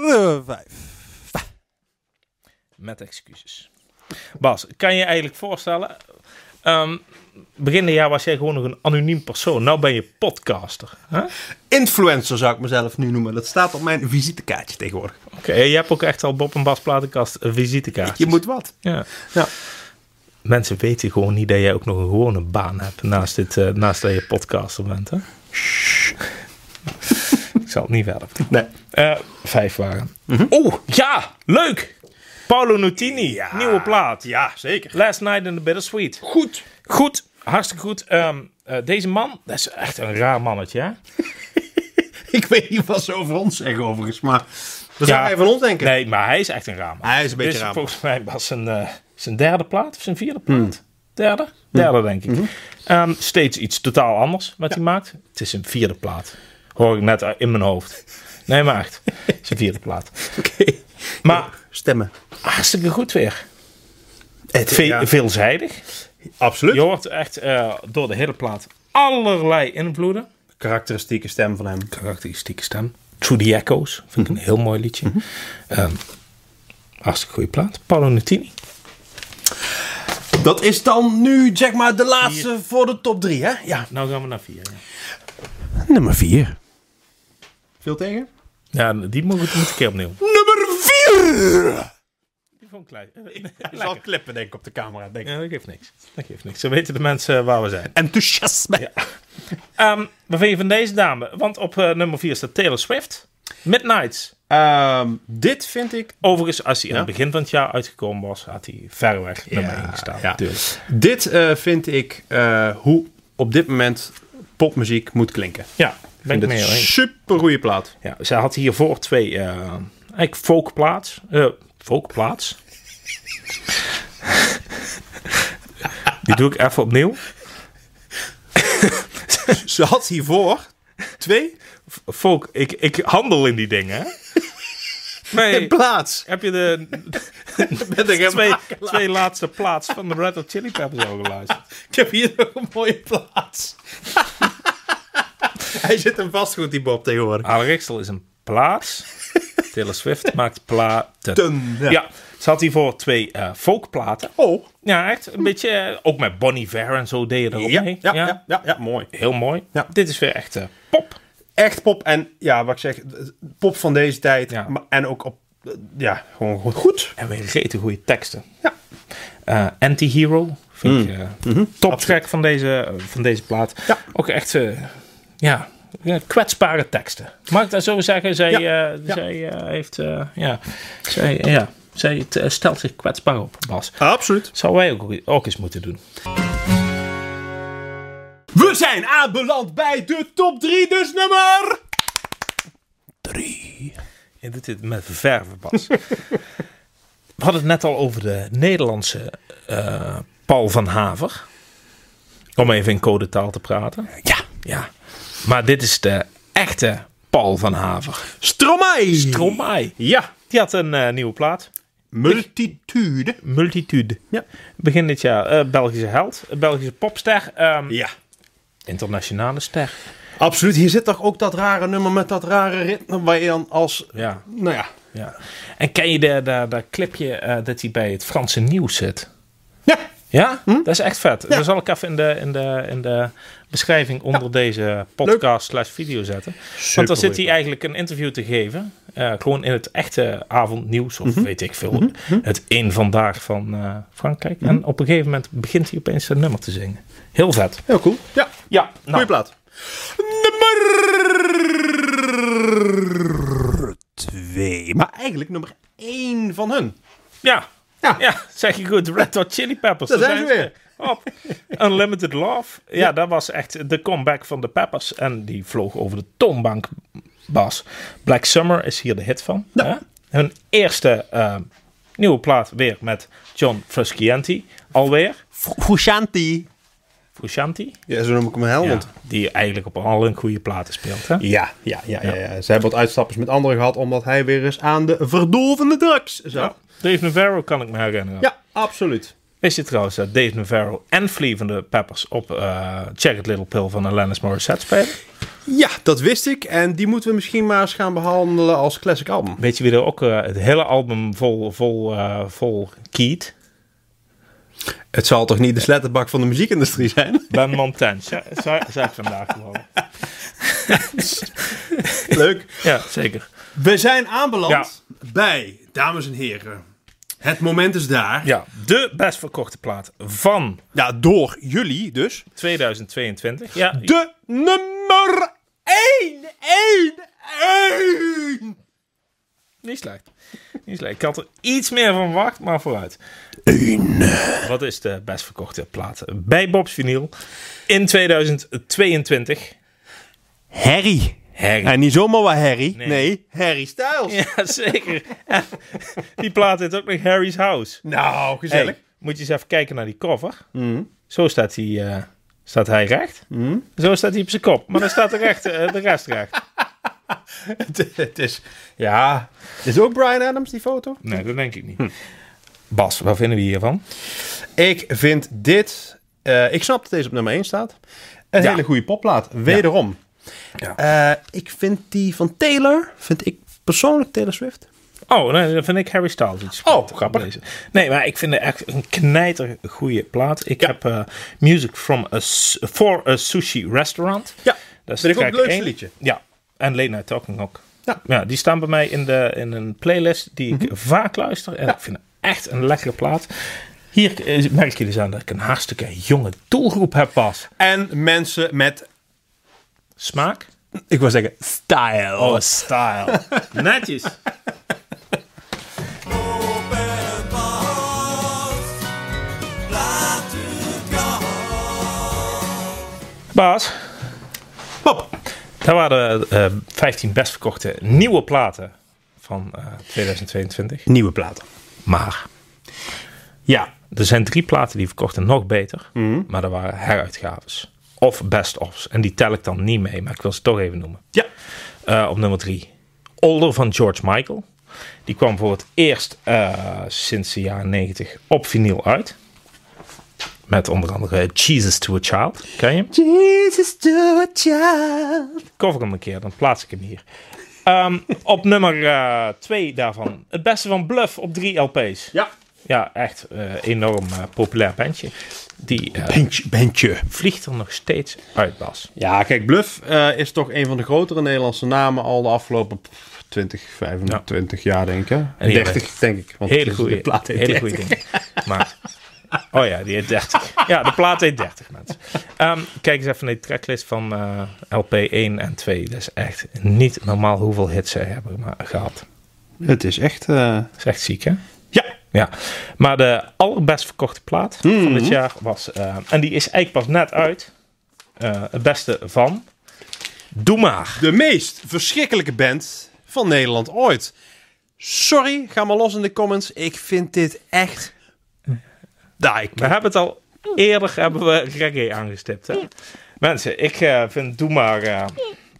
[SPEAKER 1] Nummer 5.
[SPEAKER 2] Met excuses. Bas, kan je je eigenlijk voorstellen... ehm, begin dit jaar was jij gewoon nog een anoniem persoon. Nou ben je podcaster. hè? Oké,
[SPEAKER 1] Influencer zou ik mezelf nu noemen. Dat staat op mijn visitekaartje tegenwoordig.
[SPEAKER 2] je hebt ook echt al Bob en Bas platenkast een visitekaart.
[SPEAKER 1] Je moet wat.
[SPEAKER 2] Ja.
[SPEAKER 1] Ja.
[SPEAKER 2] Mensen weten gewoon niet dat jij ook nog een gewone baan hebt naast, dit, eh, naast dat je podcaster bent. Hè? Ik zal het niet verder. vertellen.
[SPEAKER 1] Nee.
[SPEAKER 2] Eh, vijf waren.
[SPEAKER 1] Mhm.
[SPEAKER 2] Oeh, ja, leuk! Paolo Nutini, nieuwe plaat.
[SPEAKER 1] Ja, zeker.
[SPEAKER 2] Last Night in the Bittersweet.
[SPEAKER 1] Goed.
[SPEAKER 2] Goed, hartstikke goed. Ehm, eh, deze man, dat is echt een raar mannetje. Hè?
[SPEAKER 1] Ik weet niet wat ze over ons zeggen overigens, maar... Dat zou hij van ons denken.
[SPEAKER 2] Nee, maar hij is echt een raar man.
[SPEAKER 1] Hij is een beetje
[SPEAKER 2] Dit
[SPEAKER 1] raar. Hmm.
[SPEAKER 2] volgens mij was zijn, eh, zijn derde plaat of zijn vierde plaat. Derde? Derde, denk ik. Ehm, steeds iets totaal anders wat hij maakt. Het is zijn vierde plaat. Hoor ik net uit- in mijn hoofd. Nee, maar echt. Zijn vierde plaat.
[SPEAKER 1] Oké.
[SPEAKER 2] Maar
[SPEAKER 1] Stemmen.
[SPEAKER 2] hartstikke goed weer.
[SPEAKER 1] Het,
[SPEAKER 2] Ve- Veelzijdig.
[SPEAKER 1] Absoluut.
[SPEAKER 2] Je hoort echt eh, door de hele plaat allerlei invloeden.
[SPEAKER 1] Karakteristieke stem van hem.
[SPEAKER 2] Karakteristieke stem. Through the Echoes. Vind ik
[SPEAKER 1] Mhm.
[SPEAKER 2] een heel mooi liedje. Ehm, hartstikke goede plaat. Paolo Nutini.
[SPEAKER 1] Dat is dan nu, zeg maar, de laatste voor de top 3, hè? Ja.
[SPEAKER 2] Nou gaan we naar vier. ja.
[SPEAKER 1] Nummer 4. Veel tegen?
[SPEAKER 2] Ja, die moet ik moet een keer opnieuw.
[SPEAKER 1] Nummer 4!
[SPEAKER 2] Die vond ik klein.
[SPEAKER 1] Ik zal klippen, denk ik, op de camera. Denk. ik.
[SPEAKER 2] Ja, dat geeft niks. Dat geeft niks. Zo weten de mensen eh, waar we zijn.
[SPEAKER 1] Enthousiasme.
[SPEAKER 2] Ehm wat vind je van deze dame? Want op eh, nummer 4 staat Taylor Swift. Midnights.
[SPEAKER 1] Ehm, dit vind ik...
[SPEAKER 2] Overigens, als hij aan het begin van het jaar uitgekomen was, had hij ver weg nummer 1 gestaan.
[SPEAKER 1] ja.
[SPEAKER 2] natuurlijk.
[SPEAKER 1] Dit eh, vind ik eh, hoe op dit moment popmuziek moet klinken.
[SPEAKER 2] ja ben
[SPEAKER 1] Ik
[SPEAKER 2] ik
[SPEAKER 1] vind
[SPEAKER 2] mee
[SPEAKER 1] het een
[SPEAKER 2] eens.
[SPEAKER 1] super goede plaat.
[SPEAKER 2] Ja, zij had hiervoor twee, eh, eigenlijk folkplaats. eh folkplaats. Die doe ik even opnieuw.
[SPEAKER 1] Ze had hiervoor twee
[SPEAKER 2] Folk, ik, ik handel in die dingen. hè?
[SPEAKER 1] in
[SPEAKER 2] Nee,
[SPEAKER 1] plaats.
[SPEAKER 2] heb je de
[SPEAKER 1] Ben ik,
[SPEAKER 2] twee,
[SPEAKER 1] helemaal-
[SPEAKER 2] twee laatste plaats van de Red Hot Chili Peppers al geluisterd?
[SPEAKER 1] ik heb hier nog een mooie plaats. Hij zit hem vast goed, die Bob, tegenwoordig.
[SPEAKER 2] Alan Riksel is een plaats. Taylor Swift maakt platen.
[SPEAKER 1] Ten,
[SPEAKER 2] Ja. ze had hiervoor twee eh folkplaten.
[SPEAKER 1] Oh.
[SPEAKER 2] Ja, echt een beetje, eh, ook met Bonnie Ver en zo deed je er ook
[SPEAKER 1] Ja,
[SPEAKER 2] mee.
[SPEAKER 1] ja, ja. ja, ja, mooi.
[SPEAKER 2] Heel mooi.
[SPEAKER 1] Ja.
[SPEAKER 2] Dit is weer echt eh, pop.
[SPEAKER 1] Echt pop. En ja, wat ik zeg, pop van deze tijd.
[SPEAKER 2] Ja.
[SPEAKER 1] maar- En ook op, ja, gewoon goed. goed.
[SPEAKER 2] En weer rete goede teksten.
[SPEAKER 1] Ja. Mm. Mhm.
[SPEAKER 2] Eh, Anti-Hero vind ik eh toptrack van eh, deze, van deze plaat.
[SPEAKER 1] Ja.
[SPEAKER 2] Ook echt, eh, ja, ja, kwetsbare teksten. Mag ik dat zo zeggen? Zij,
[SPEAKER 1] Ja,
[SPEAKER 2] eh,
[SPEAKER 1] ja.
[SPEAKER 2] zij eh, heeft, eh, ja, zij, ja, zij t- stelt zich kwetsbaar op, Bas.
[SPEAKER 1] Absoluut.
[SPEAKER 2] Dat zouden wij ook, ook eens moeten doen.
[SPEAKER 1] We zijn aanbeland bij de top 3, dus nummer...
[SPEAKER 2] Je doet dit met verve, Bas. We hadden het net al over de Nederlandse eh, Paul van Haver. Om even in codetaal te praten.
[SPEAKER 1] Ja.
[SPEAKER 2] Ja. Maar dit is de echte Paul van Haver.
[SPEAKER 1] Stromae.
[SPEAKER 2] Tromai.
[SPEAKER 1] ja.
[SPEAKER 2] Die had een eh, nieuwe plaat.
[SPEAKER 1] Multitude.
[SPEAKER 2] Multitude.
[SPEAKER 1] Ja.
[SPEAKER 2] Begin dit jaar eh, Belgische held. eh, Belgische popster. ehm,
[SPEAKER 1] Ja.
[SPEAKER 2] Internationale ster.
[SPEAKER 1] Absoluut. Hier zit toch ook dat rare nummer met dat rare ritme waar je dan als...
[SPEAKER 2] Ja.
[SPEAKER 1] Nou ja.
[SPEAKER 2] ja. En ken je dat de, de clipje eh, dat hij bij het Franse nieuws zit?
[SPEAKER 1] Ja.
[SPEAKER 2] Ja,
[SPEAKER 1] Hm?
[SPEAKER 2] dat is echt vet. Dat zal ik even in de, in de, in de beschrijving onder deze podcast slash video zetten. Want dan zit hij
[SPEAKER 1] leuk.
[SPEAKER 2] eigenlijk een interview te geven. eh, gewoon in het echte avondnieuws,
[SPEAKER 1] Mhm.
[SPEAKER 2] of weet ik veel. Het in vandaag van eh, Frankrijk.
[SPEAKER 1] Mhm.
[SPEAKER 2] En op een gegeven moment begint hij opeens zijn nummer te zingen. Heel vet.
[SPEAKER 1] Heel cool. Ja.
[SPEAKER 2] Ja, nou,
[SPEAKER 1] Goeie plaat. Nummer 2. Maar eigenlijk nummer 1 van hun.
[SPEAKER 2] ja.
[SPEAKER 1] Ja.
[SPEAKER 2] Ja, zeg je goed. Red Hot Chili Peppers.
[SPEAKER 1] Daar zijn ze
[SPEAKER 2] Op. Unlimited Love. Ja, dat was echt de comeback van de Peppers. En die vloog over de toonbank, Bas. Black Summer is hier de hit van. hè? Hun eerste eh, nieuwe plaat weer met John Frusciante. Alweer.
[SPEAKER 1] Fushanti.
[SPEAKER 2] Frusciante.
[SPEAKER 1] Ja, zo noem ik hem in Helmond.
[SPEAKER 2] Ja, die eigenlijk op al hun goede platen speelt. Hè?
[SPEAKER 1] Ja, ja, ja, ja. ja. Ze hebben wat uitstappers met anderen gehad, omdat hij weer eens aan de verdovende drugs zat. Ja,
[SPEAKER 2] Dave Navarro kan ik me herinneren.
[SPEAKER 1] absoluut.
[SPEAKER 2] Wist je trouwens dat Dave Navarro en Flea van de Peppers op eh Check It Little Pill van Alanis Morissette spelen?
[SPEAKER 1] Ja, dat wist ik. En die moeten we misschien maar eens gaan behandelen als classic album.
[SPEAKER 2] Weet je wie er ook eh, het hele album vol, vol, eh, vol kiet?
[SPEAKER 1] Het zal toch niet de sletterbak van de muziekindustrie zijn?
[SPEAKER 2] Ben Montan. Zeg vandaag gewoon.
[SPEAKER 1] Leuk.
[SPEAKER 2] Ja, zeker.
[SPEAKER 1] We zijn aanbeland bij, dames en heren, het moment is daar.
[SPEAKER 2] Ja, de best verkochte plaat van
[SPEAKER 1] Ja, door jullie dus.
[SPEAKER 2] 2022. Ja,
[SPEAKER 1] De nummer 1, 1, 1.
[SPEAKER 2] niet slecht. Niet slecht. Ik had er iets meer van verwacht, maar vooruit. Wat is de best verkochte plaat bij Bob's Vinyl in 2022?
[SPEAKER 1] Harry.
[SPEAKER 2] Harry.
[SPEAKER 1] En niet zomaar wat Harry. Nee,
[SPEAKER 2] Nee,
[SPEAKER 1] Harry Styles.
[SPEAKER 2] Ja, zeker. En die plaat heet ook nog Harry's House.
[SPEAKER 1] Nou, gezellig.
[SPEAKER 2] Hey, Mm. moet je eens even kijken naar die cover. Zo staat hij, eh, staat hij recht. Zo staat hij op zijn kop. Maar dan staat de, recht, eh, de rest recht.
[SPEAKER 1] het is, ja. Is ook Brian Adams die foto?
[SPEAKER 2] Nee, dat denk ik niet. Bas, wat vinden we hiervan?
[SPEAKER 1] Ik vind dit, eh, ik snap dat deze op nummer 1 staat. Een
[SPEAKER 2] Ja.
[SPEAKER 1] hele goede popplaat, wederom.
[SPEAKER 2] Ja.
[SPEAKER 1] Eh, ik vind die van Taylor, vind ik persoonlijk Taylor Swift.
[SPEAKER 2] Oh, nee, dan vind ik Harry Styles iets.
[SPEAKER 1] Oh,
[SPEAKER 2] op Deze. Nee, maar ik vind het echt een knijter goede plaat. Ik heb eh, Music from a, Su- for a Sushi Restaurant.
[SPEAKER 1] Ja,
[SPEAKER 2] Dat is
[SPEAKER 1] Vind ik ook
[SPEAKER 2] track
[SPEAKER 1] het leukste
[SPEAKER 2] één.
[SPEAKER 1] liedje.
[SPEAKER 2] Ja, en Late Night Talking ook.
[SPEAKER 1] Ja. Mhm.
[SPEAKER 2] die staan bij mij in, de, in een playlist die ik vaak luister. En ik vind het echt een lekkere plaat. Hier eh, merk je dus aan dat ik een hartstikke jonge doelgroep heb, Bas.
[SPEAKER 1] En mensen met,
[SPEAKER 2] Smaak? Oh,
[SPEAKER 1] ik wil zeggen, style.
[SPEAKER 2] style. Netjes.
[SPEAKER 3] Open my heart, blind to God.
[SPEAKER 2] Bas,
[SPEAKER 1] Pop.
[SPEAKER 2] dat waren de eh, 15 best verkochte nieuwe platen van eh, 2022.
[SPEAKER 1] Nieuwe platen.
[SPEAKER 2] Maar
[SPEAKER 1] Ja.
[SPEAKER 2] Er zijn drie platen die verkochten nog beter, maar dat waren heruitgaves. Of best-offs. En die tel ik dan niet mee, maar ik wil ze toch even noemen.
[SPEAKER 1] Ja.
[SPEAKER 2] Eh, op nummer drie, Older van George Michael. Die kwam voor het eerst eh, sinds de jaren 90 op vinyl uit. Met onder andere Jesus to a Child. Ken je hem?
[SPEAKER 1] Jesus to a child.
[SPEAKER 2] Cover hem een keer, dan plaats ik hem hier. Ehm, op nummer eh, twee daarvan, het beste van Bluff op drie LP's.
[SPEAKER 1] Ja.
[SPEAKER 2] Ja, echt eh, enorm eh, populair bandje. Die eh,
[SPEAKER 1] Bentje, bentje.
[SPEAKER 2] vliegt er nog steeds uit, Bas.
[SPEAKER 1] Ja, kijk, Bluff eh, is toch een van de grotere Nederlandse namen al de afgelopen pff, 20, 25 jaar, denk ik. hè?
[SPEAKER 2] die
[SPEAKER 1] 30, denk ik. Want
[SPEAKER 2] Hele
[SPEAKER 1] de
[SPEAKER 2] goede,
[SPEAKER 1] plaat heet
[SPEAKER 2] hele
[SPEAKER 1] 30.
[SPEAKER 2] goede dingen. Maar Oh ja, die heet 30. Ja, de plaat heet 30, mensen. Ehm, kijk eens even naar die tracklist van eh, LP 1 en 2. Dat is echt niet normaal hoeveel hits zij hebben ma- gehad.
[SPEAKER 1] Het is echt... eh,
[SPEAKER 2] Dat is echt ziek, hè?
[SPEAKER 1] Ja.
[SPEAKER 2] Ja. Maar de allerbest verkochte plaat van dit jaar was... eh, en die is eigenlijk pas net uit. eh, het beste van... Doe maar.
[SPEAKER 1] De meest verschrikkelijke band van Nederland ooit. Sorry, ga maar los in de comments. Ik vind dit echt... Nou, ik...
[SPEAKER 2] We hebben het al eerder hebben we reggae aangestipt. Hè? Mensen, ik eh, vind Doe Maar... eh,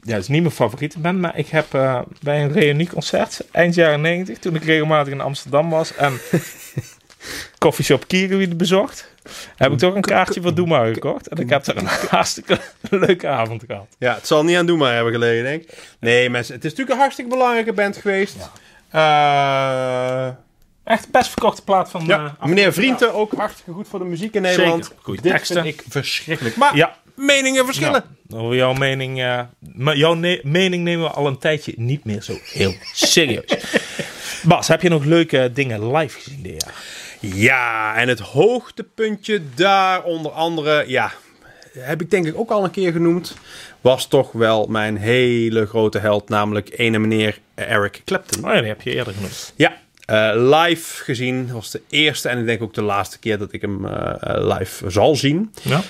[SPEAKER 2] ja, het is niet mijn favoriete band, maar ik heb eh, bij een reunieconcert eind jaren 90, toen ik regelmatig in Amsterdam was en koffieshop Kiwi bezocht, heb ik toch een kaartje voor Doe Maar gekocht. En ik heb daar een hartstikke leuke avond gehad.
[SPEAKER 1] Ja, het zal niet aan Doema hebben gelegen, denk ik. Nee, mensen, het is natuurlijk een hartstikke belangrijke band geweest. Eh,
[SPEAKER 2] Echt best verkochte plaat van... eh,
[SPEAKER 1] ja, meneer Vrienden, ook hartstikke goed voor de muziek in Nederland.
[SPEAKER 2] Zeker. Goeie
[SPEAKER 1] Dit
[SPEAKER 2] teksten.
[SPEAKER 1] vind ik verschrikkelijk. Maar
[SPEAKER 2] Ja.
[SPEAKER 1] meningen
[SPEAKER 2] Nou,
[SPEAKER 1] verschillen.
[SPEAKER 2] over jouw mening, eh, maar jouw ne- mening nemen we al een tijdje niet meer zo heel serieus. Bas, heb je nog leuke eh, dingen live gezien dit jaar?
[SPEAKER 1] Ja, en het hoogtepuntje daar onder andere, ja, heb ik denk ik ook al een keer genoemd, was toch wel mijn hele grote held, namelijk ene meneer Eric Clapton.
[SPEAKER 2] Oh ja, die heb je eerder genoemd.
[SPEAKER 1] Ja, eh, live gezien was de eerste en ik denk ook de laatste keer dat ik hem eh, eh, live zal zien.
[SPEAKER 2] Ja.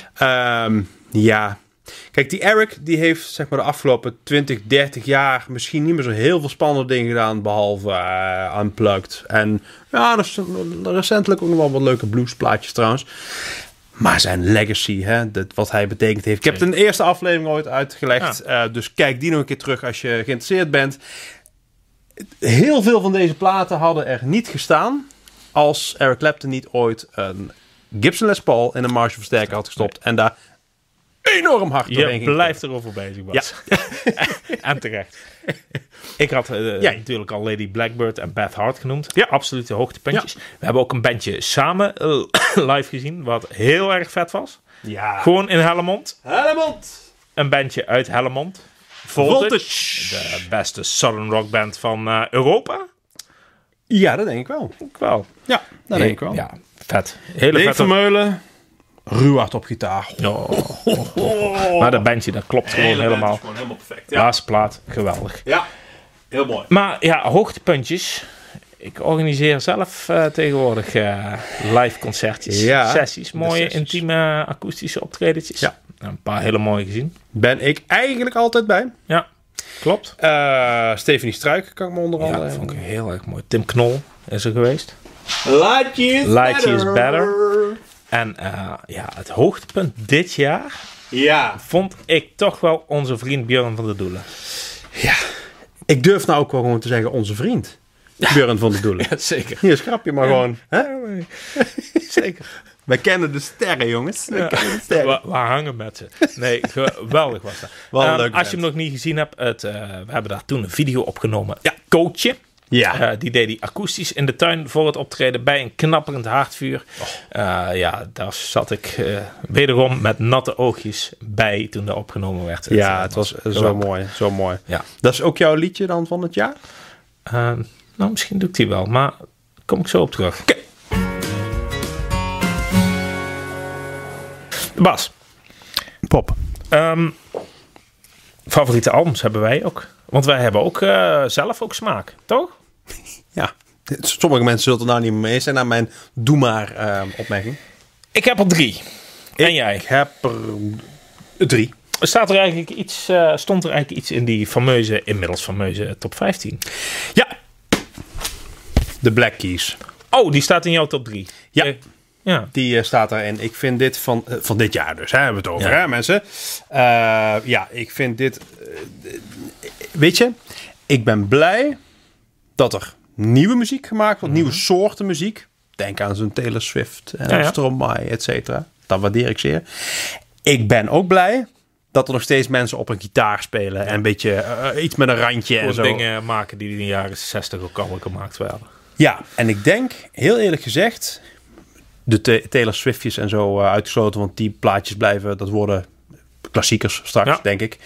[SPEAKER 1] Ehm, ja. Kijk, die Eric die heeft zeg maar, de afgelopen 20, 30 jaar misschien niet meer zo heel veel spannende dingen gedaan. Behalve eh Unplugged. En ja, er is recentelijk ook nog wel wat leuke bluesplaatjes trouwens. Maar zijn legacy, hè, dat, wat hij betekend heeft. Ik heb het in de eerste aflevering ooit uitgelegd. eh, dus kijk die nog een keer terug als je geïnteresseerd bent. Heel veel van deze platen hadden er niet gestaan. Als Eric Clapton niet ooit een Gibson Les Paul in een Marshall versterker had gestopt. En daar enorm hard doorheen
[SPEAKER 2] Je
[SPEAKER 1] ging.
[SPEAKER 2] blijft erover bezig, Bas. en terecht. Ik had eh,
[SPEAKER 1] Ja.
[SPEAKER 2] natuurlijk al Lady Blackbird en Beth Hart genoemd. Ja. Absolute hoogtepuntjes.
[SPEAKER 1] Ja.
[SPEAKER 2] We hebben ook een bandje samen eh, live gezien, wat heel erg vet was.
[SPEAKER 1] Ja.
[SPEAKER 2] Gewoon in Hellemond.
[SPEAKER 1] Helmond.
[SPEAKER 2] Een bandje uit Hellemond.
[SPEAKER 1] Voltage.
[SPEAKER 2] De beste Southern Rock band van eh, Europa.
[SPEAKER 1] Ja, dat denk ik wel.
[SPEAKER 2] Ik wel.
[SPEAKER 1] Ja, dat denk ik wel.
[SPEAKER 2] Ja, vet. Hele
[SPEAKER 1] Dave
[SPEAKER 2] vette...
[SPEAKER 1] Vermeulen. Ruwaard op gitaar.
[SPEAKER 2] Oh,
[SPEAKER 1] Oh.
[SPEAKER 2] Maar dat bandje, dat klopt gewoon helemaal.
[SPEAKER 1] Gewoon helemaal perfect.
[SPEAKER 2] Laatste plaat, geweldig.
[SPEAKER 1] ja. heel mooi.
[SPEAKER 2] Maar ja, hoogtepuntjes. Ik organiseer zelf eh, tegenwoordig eh, live concertjes,
[SPEAKER 1] Ja,
[SPEAKER 2] sessies.
[SPEAKER 1] de
[SPEAKER 2] Mooie,
[SPEAKER 1] sessies.
[SPEAKER 2] intieme, akoestische optredetjes.
[SPEAKER 1] Ja.
[SPEAKER 2] Een paar hele mooie gezien.
[SPEAKER 1] Ben ik eigenlijk altijd bij.
[SPEAKER 2] Ja, klopt.
[SPEAKER 1] Eh Stephanie Struik kan ik me onder
[SPEAKER 2] Ja,
[SPEAKER 1] andere
[SPEAKER 2] dat vond ik heel erg mooi. Tim Knol is er geweest.
[SPEAKER 1] Lightje is
[SPEAKER 2] Lightje is better. En eh, ja, het hoogtepunt dit jaar
[SPEAKER 1] Ja.
[SPEAKER 2] vond ik toch wel onze vriend Björn van der Doelen.
[SPEAKER 1] Ik durf nou ook wel gewoon te zeggen onze vriend. Björn van de Doelen.
[SPEAKER 2] Zeker.
[SPEAKER 1] Hier, schrap je maar gewoon. Hè?
[SPEAKER 2] Zeker.
[SPEAKER 1] Wij kennen de sterren, jongens. Wij kennen de sterren.
[SPEAKER 2] We, we hangen met ze. Nee, geweldig was dat.
[SPEAKER 1] Wel een
[SPEAKER 2] Ehm,
[SPEAKER 1] leuke
[SPEAKER 2] als je hem
[SPEAKER 1] vent.
[SPEAKER 2] nog niet gezien hebt, het, eh, we hebben daar toen een video opgenomen. Ja, coachje.
[SPEAKER 1] Ja.
[SPEAKER 2] Eh, die deed hij akoestisch in de tuin voor het optreden bij een knapperend haardvuur.
[SPEAKER 1] Oh.
[SPEAKER 2] Eh, ja, daar zat ik eh, wederom met natte oogjes bij toen dat opgenomen werd.
[SPEAKER 1] ja,
[SPEAKER 2] eh,
[SPEAKER 1] het was eh, zo
[SPEAKER 2] geweldig.
[SPEAKER 1] mooi. Zo mooi.
[SPEAKER 2] Ja.
[SPEAKER 1] Dat is ook jouw liedje dan van het jaar?
[SPEAKER 2] Ehm, nou, misschien doe ik die wel, maar kom ik zo op terug. Bas,
[SPEAKER 1] Pop.
[SPEAKER 2] ehm, favoriete albums hebben wij ook. Want wij hebben ook eh, zelf ook smaak, toch?
[SPEAKER 1] Ja. Sommige mensen zullen het er nou niet mee eens zijn aan mijn doe maar eh, opmerking.
[SPEAKER 2] Ik heb er drie. En jij?
[SPEAKER 1] Ik heb er drie.
[SPEAKER 2] Staat er eigenlijk iets, eh, stond er eigenlijk iets in die fameuze, inmiddels fameuze eh, top 15?
[SPEAKER 1] Ja. De Black Keys.
[SPEAKER 2] Oh, die staat in jouw top 3.
[SPEAKER 1] Ja.
[SPEAKER 2] ja.
[SPEAKER 1] Die eh, staat erin. Ik vind dit van, eh, van dit jaar dus. Hè, hebben we het over,
[SPEAKER 2] Ja.
[SPEAKER 1] hè, mensen? Eh, ja, ik vind dit... eh, eh, weet je, ik ben blij dat er nieuwe muziek gemaakt wordt. Nieuwe soorten muziek. Denk aan zo'n Taylor Swift en
[SPEAKER 2] Mhm. Ja, ja.
[SPEAKER 1] Stromae, et cetera. Dat waardeer ik zeer. Ik ben ook blij dat er nog steeds mensen op een gitaar spelen. En een beetje eh, iets met een randje en
[SPEAKER 2] Voor
[SPEAKER 1] zo.
[SPEAKER 2] dingen maken die in de jaren 60 ook al gemaakt werden.
[SPEAKER 1] Ja, en ik denk, heel eerlijk gezegd, de Ta- Taylor Swiftjes en zo eh, uitgesloten, want die plaatjes blijven, dat worden klassiekers straks,
[SPEAKER 2] Ja.
[SPEAKER 1] denk ik.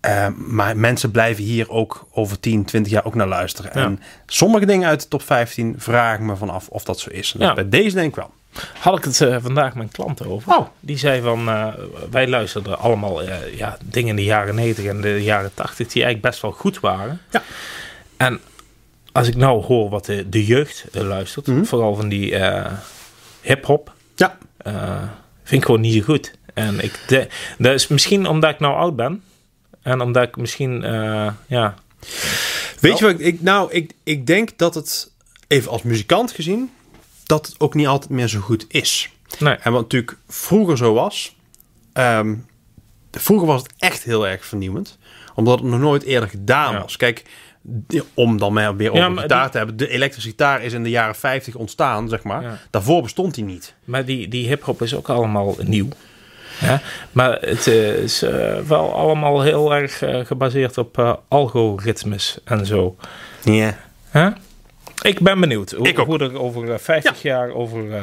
[SPEAKER 1] Eh, maar mensen blijven hier ook over 10, 20 jaar ook naar luisteren. En sommige dingen uit de top 15 vraag ik me vanaf of dat zo is. En dat
[SPEAKER 2] Ja.
[SPEAKER 1] Bij deze denk ik wel.
[SPEAKER 2] had ik het eh, vandaag mijn klant over.
[SPEAKER 1] Oh.
[SPEAKER 2] Die zei van, eh, wij luisterden allemaal eh, ja, dingen in de jaren 90 en de jaren 80 die eigenlijk best wel goed waren.
[SPEAKER 1] Ja.
[SPEAKER 2] En als ik nou hoor wat de, de jeugd eh, luistert,
[SPEAKER 1] Mhm.
[SPEAKER 2] vooral van die eh, hip-hop,
[SPEAKER 1] Ja.
[SPEAKER 2] eh, vind ik gewoon niet zo goed. En ik, de, dat is misschien omdat ik nou oud ben. En omdat ik misschien, eh, ja,
[SPEAKER 1] Weet je wat ik- ik... Nou, ik, ik denk dat het, even als muzikant gezien, dat het ook niet altijd meer zo goed is.
[SPEAKER 2] nee.
[SPEAKER 1] En wat natuurlijk vroeger zo was, ehm, vroeger was het echt heel erg vernieuwend, omdat het nog nooit eerder gedaan
[SPEAKER 2] Ja.
[SPEAKER 1] was. Kijk, die- om dan maar weer over
[SPEAKER 2] Ja, maar
[SPEAKER 1] gitaar
[SPEAKER 2] die-
[SPEAKER 1] te hebben, de elektrische gitaar is in de jaren 50 ontstaan, zeg maar.
[SPEAKER 2] Ja.
[SPEAKER 1] Daarvoor bestond die niet.
[SPEAKER 2] Maar die, die hip-hop is ook allemaal nieuw. Ja, maar het eh, is eh, wel allemaal heel erg eh, gebaseerd op eh, algoritmes en zo.
[SPEAKER 1] Ja.
[SPEAKER 2] Ja? Ik ben benieuwd hoe,
[SPEAKER 1] Ik ook.
[SPEAKER 2] hoe er over eh, 50 jaar over eh,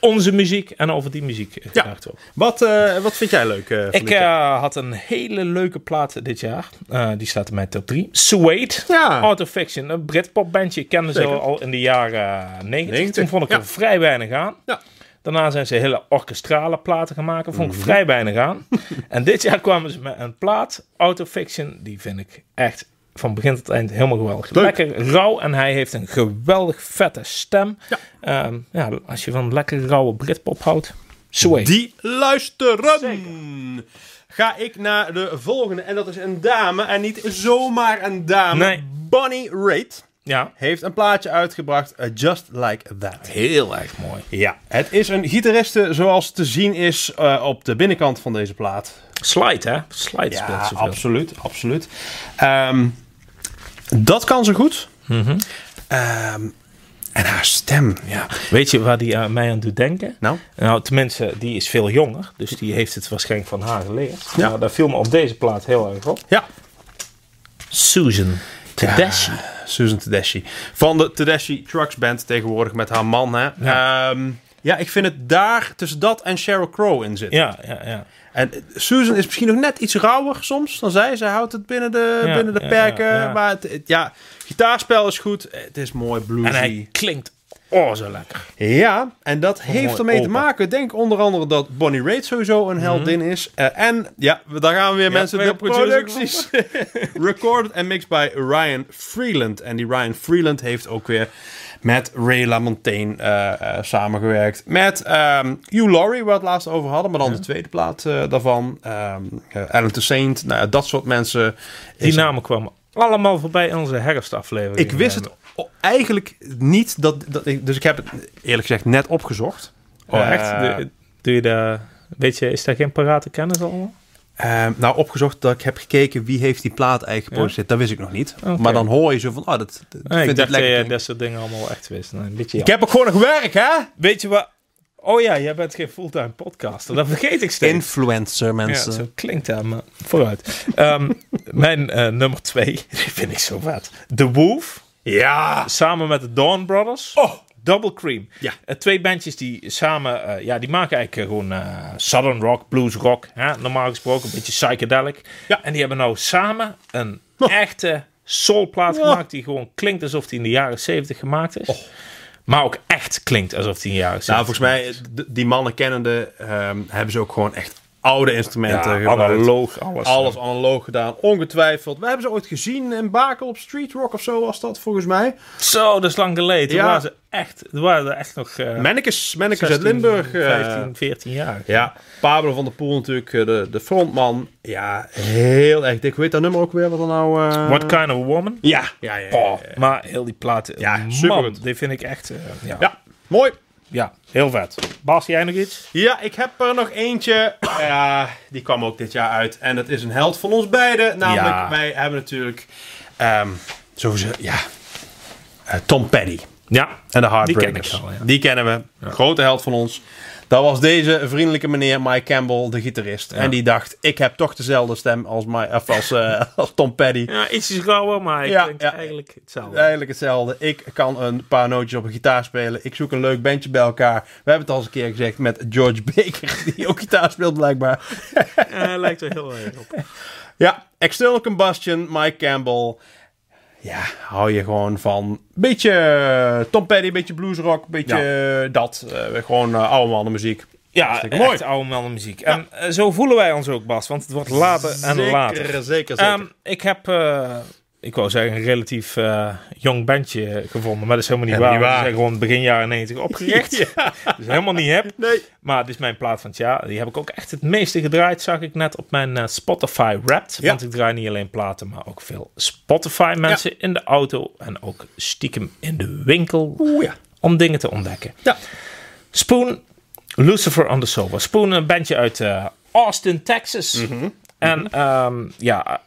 [SPEAKER 2] onze muziek en over die muziek eh,
[SPEAKER 1] Ja.
[SPEAKER 2] gedacht wordt.
[SPEAKER 1] Wat, eh, wat vind jij leuk? eh, van
[SPEAKER 2] Ik
[SPEAKER 1] dit jaar?
[SPEAKER 2] eh, had een hele leuke plaat dit jaar. Eh, die staat in mijn top 3. Suede.
[SPEAKER 1] Ja.
[SPEAKER 2] Autofiction. Een Britpopbandje. Ik kende ze
[SPEAKER 1] Zeker.
[SPEAKER 2] al in de jaren 90.
[SPEAKER 1] 90,
[SPEAKER 2] Toen vond ik
[SPEAKER 1] ja.
[SPEAKER 2] er vrij weinig aan.
[SPEAKER 1] Ja.
[SPEAKER 2] Daarna zijn ze hele orkestrale platen gaan maken. Vond ik
[SPEAKER 1] Mhm.
[SPEAKER 2] vrij weinig aan. en dit jaar kwamen ze met een plaat. Autofiction. Die vind ik echt van begin tot eind helemaal geweldig.
[SPEAKER 1] Leuk.
[SPEAKER 2] Lekker rauw. En hij heeft een geweldig vette stem. Ja. ja, als je van lekker rauwe Britpop houdt. Suede.
[SPEAKER 1] Die luisteren. Ga ik naar de volgende. En dat is een dame. En niet zomaar een dame.
[SPEAKER 2] Nee.
[SPEAKER 1] Bonnie Raitt
[SPEAKER 2] Ja.
[SPEAKER 1] heeft een plaatje uitgebracht. eh, Just Like That.
[SPEAKER 2] Heel erg mooi.
[SPEAKER 1] Ja, het is een gitariste zoals te zien is eh, op de binnenkant van deze plaat.
[SPEAKER 2] Slide, hè? Slide speelt zoveel.
[SPEAKER 1] absoluut, absoluut. Ehm, dat kan ze goed.
[SPEAKER 2] Mhm.
[SPEAKER 1] Ehm, en haar stem.
[SPEAKER 2] Ja. Weet je waar die aan mij aan doet denken?
[SPEAKER 1] Nou?
[SPEAKER 2] Nou, tenminste, die is veel jonger. Dus die heeft het waarschijnlijk van haar geleerd.
[SPEAKER 1] Ja.
[SPEAKER 2] Nou, dat viel me op deze plaat heel erg op.
[SPEAKER 1] Ja,
[SPEAKER 2] Susan Tedeschi.
[SPEAKER 1] Ah, Susan Tedeschi. Van de Tedeschi Trucks Band tegenwoordig met haar man. Hè? Ja. ja, ik vind het daar tussen dat en Sheryl Crow in zitten.
[SPEAKER 2] Ja, ja, ja.
[SPEAKER 1] En eh, Susan is misschien nog net iets rauwer soms dan zij. Zij houdt het binnen de,
[SPEAKER 2] Ja,
[SPEAKER 1] binnen de
[SPEAKER 2] ja,
[SPEAKER 1] perken.
[SPEAKER 2] ja, ja.
[SPEAKER 1] Maar het, het- ja, gitaarspel is goed. Het is mooi bluesy.
[SPEAKER 2] En hij klinkt oh zo lekker.
[SPEAKER 1] Ja, en dat heeft
[SPEAKER 2] mooi
[SPEAKER 1] ermee te
[SPEAKER 2] opa.
[SPEAKER 1] maken. Ik denk onder andere dat Bonnie Raitt sowieso een heldin is. Eh, en ja, we- daar gaan we weer mensen
[SPEAKER 2] weer
[SPEAKER 1] de
[SPEAKER 2] producers.
[SPEAKER 1] producties. Recorded en mixed by Ryan Freeland. En die Ryan Freeland heeft ook weer met Ray LaMontagne eh, eh, samengewerkt. Met ehm Hugh Laurie, waar we het laatst over hadden. Maar dan de tweede plaat eh, daarvan. Ehm eh, Alan Toussaint. Nou, ja, dat soort mensen.
[SPEAKER 2] Die
[SPEAKER 1] Is-
[SPEAKER 2] namen kwamen allemaal voorbij in onze herfstaflevering.
[SPEAKER 1] ik wist het o- eigenlijk niet. Dat, dat ik, dus ik heb het eerlijk gezegd net opgezocht.
[SPEAKER 2] Oh, echt?
[SPEAKER 1] Eh,
[SPEAKER 2] Doe- doe je dat... Weet je, is daar geen parate kennis allemaal?
[SPEAKER 1] Ehm, nou, opgezocht dat ik heb gekeken wie heeft die plaat eigenlijk geproduceerd. Dat wist ik nog niet.
[SPEAKER 2] Oké.
[SPEAKER 1] Maar dan hoor je zo van, oh, dat, dat
[SPEAKER 2] Nee,
[SPEAKER 1] vind
[SPEAKER 2] ik
[SPEAKER 1] ik
[SPEAKER 2] dacht dat
[SPEAKER 1] lekker.
[SPEAKER 2] je dat soort dingen allemaal echt wist. Nee, een beetje
[SPEAKER 1] ik heb ook gewoon nog werk, hè?
[SPEAKER 2] Weet je wat? Oh ja, jij bent geen fulltime podcaster. Dat vergeet ik steeds.
[SPEAKER 1] Influencer,
[SPEAKER 2] Ja,
[SPEAKER 1] mensen.
[SPEAKER 2] zo klinkt dat, maar vooruit. Ehm, mijn eh, nummer twee, die vind ik zo vet. The Wolf,
[SPEAKER 1] Ja.
[SPEAKER 2] samen met de Dawn Brothers.
[SPEAKER 1] Oh.
[SPEAKER 2] Double Cream.
[SPEAKER 1] Ja.
[SPEAKER 2] Eh, twee bandjes die samen, eh, ja, die maken eigenlijk eh, gewoon eh, Southern Rock, Blues Rock. Hè? Normaal gesproken, een beetje psychedelic.
[SPEAKER 1] Ja. Oh.
[SPEAKER 2] En die hebben nou samen een echte soulplaat gemaakt die gewoon klinkt alsof die in de jaren 70 gemaakt is. Maar ook echt klinkt alsof die in de jaren 70
[SPEAKER 1] Oh. Nou, volgens mij, d- die mannen kennende, ehm, hebben ze ook gewoon echt oude instrumenten
[SPEAKER 2] Ja,
[SPEAKER 1] gebruikt.
[SPEAKER 2] analoog alles.
[SPEAKER 1] Alles analoog gedaan, ongetwijfeld. We hebben ze ooit gezien in Bakel op Street Rock of zo was dat, volgens mij.
[SPEAKER 2] Zo, dat is lang geleden. Toen
[SPEAKER 1] Ja.
[SPEAKER 2] waren ze echt, toen waren ze echt nog... eh,
[SPEAKER 1] Mennekes, Mennekes
[SPEAKER 2] 16,
[SPEAKER 1] uit Limburg. eh,
[SPEAKER 2] 15, 14 jaar.
[SPEAKER 1] Ja, Pablo van der Poel natuurlijk, eh, de, de frontman. Ja, heel erg dik. Hoe heet dat nummer ook weer? Wat dan nou... eh,
[SPEAKER 2] What kind of woman?
[SPEAKER 1] Ja. Ja, ja,
[SPEAKER 2] Oh, maar heel die plaat. eh,
[SPEAKER 1] Ja,
[SPEAKER 2] man,
[SPEAKER 1] supergoed.
[SPEAKER 2] die vind ik echt. eh, ja. Ja.
[SPEAKER 1] Ja, mooi.
[SPEAKER 2] heel vet. Bas, jij nog iets?
[SPEAKER 1] Ja, ik heb er nog eentje. Ja, die kwam ook dit jaar uit. En dat is een held van ons beiden. Namelijk,
[SPEAKER 2] Ja.
[SPEAKER 1] wij hebben natuurlijk... ehm sowieso, ja... eh, Tom Petty
[SPEAKER 2] Ja.
[SPEAKER 1] en de
[SPEAKER 2] Die ken ik
[SPEAKER 1] Heartbreakers.
[SPEAKER 2] wel, ja.
[SPEAKER 1] Die kennen we. Grote held van ons. Dat was deze vriendelijke meneer Mike Campbell, de gitarist. En die dacht, ik heb toch dezelfde stem als, Mike, of als, eh, als Tom Petty.
[SPEAKER 2] ja iets is rauwer, maar hij
[SPEAKER 1] Ja,
[SPEAKER 2] klinkt
[SPEAKER 1] ja.
[SPEAKER 2] eigenlijk hetzelfde.
[SPEAKER 1] Eigenlijk hetzelfde. Ik kan een paar nootjes op een gitaar spelen. Ik zoek een leuk bandje bij elkaar. We hebben het al eens een keer gezegd met George Baker, die ook gitaar speelt blijkbaar.
[SPEAKER 2] Eh, hij lijkt er heel erg op.
[SPEAKER 1] Ja, External Combustion, Mike Campbell. Ja, hou je gewoon van een beetje eh, Tom Petty, een beetje bluesrock, een beetje eh, dat. Eh, gewoon eh, oude mannen muziek.
[SPEAKER 2] Ja,
[SPEAKER 1] Hartstikke
[SPEAKER 2] echt
[SPEAKER 1] mooi.
[SPEAKER 2] oude mannenmuziek. En eh, zo voelen wij ons ook, Bas. Want het wordt later en
[SPEAKER 1] zeker,
[SPEAKER 2] later.
[SPEAKER 1] Zeker, zeker.
[SPEAKER 2] Ehm, ik heb, eh, ik wou zeggen, een relatief eh, jong bandje eh, gevonden. Maar dat is helemaal niet
[SPEAKER 1] Ja,
[SPEAKER 2] waar.
[SPEAKER 1] niet
[SPEAKER 2] want
[SPEAKER 1] waar.
[SPEAKER 2] Ze zijn gewoon begin jaren 90 opgericht. Dat is helemaal niet hip.
[SPEAKER 1] nee.
[SPEAKER 2] Maar dit is mijn plaat van het jaar. Die heb ik ook echt het meeste gedraaid, zag ik net op mijn eh, Spotify Wrapped.
[SPEAKER 1] Ja.
[SPEAKER 2] Want ik draai niet alleen platen, maar ook veel Spotify mensen in de auto. En ook stiekem in de winkel
[SPEAKER 1] Oeh ja.
[SPEAKER 2] om dingen te ontdekken.
[SPEAKER 1] Ja.
[SPEAKER 2] Spoon, Lucifer on the Sober. Spoon, een bandje uit eh, Austin, Texas.
[SPEAKER 1] Mhm.
[SPEAKER 2] En ehm, ja,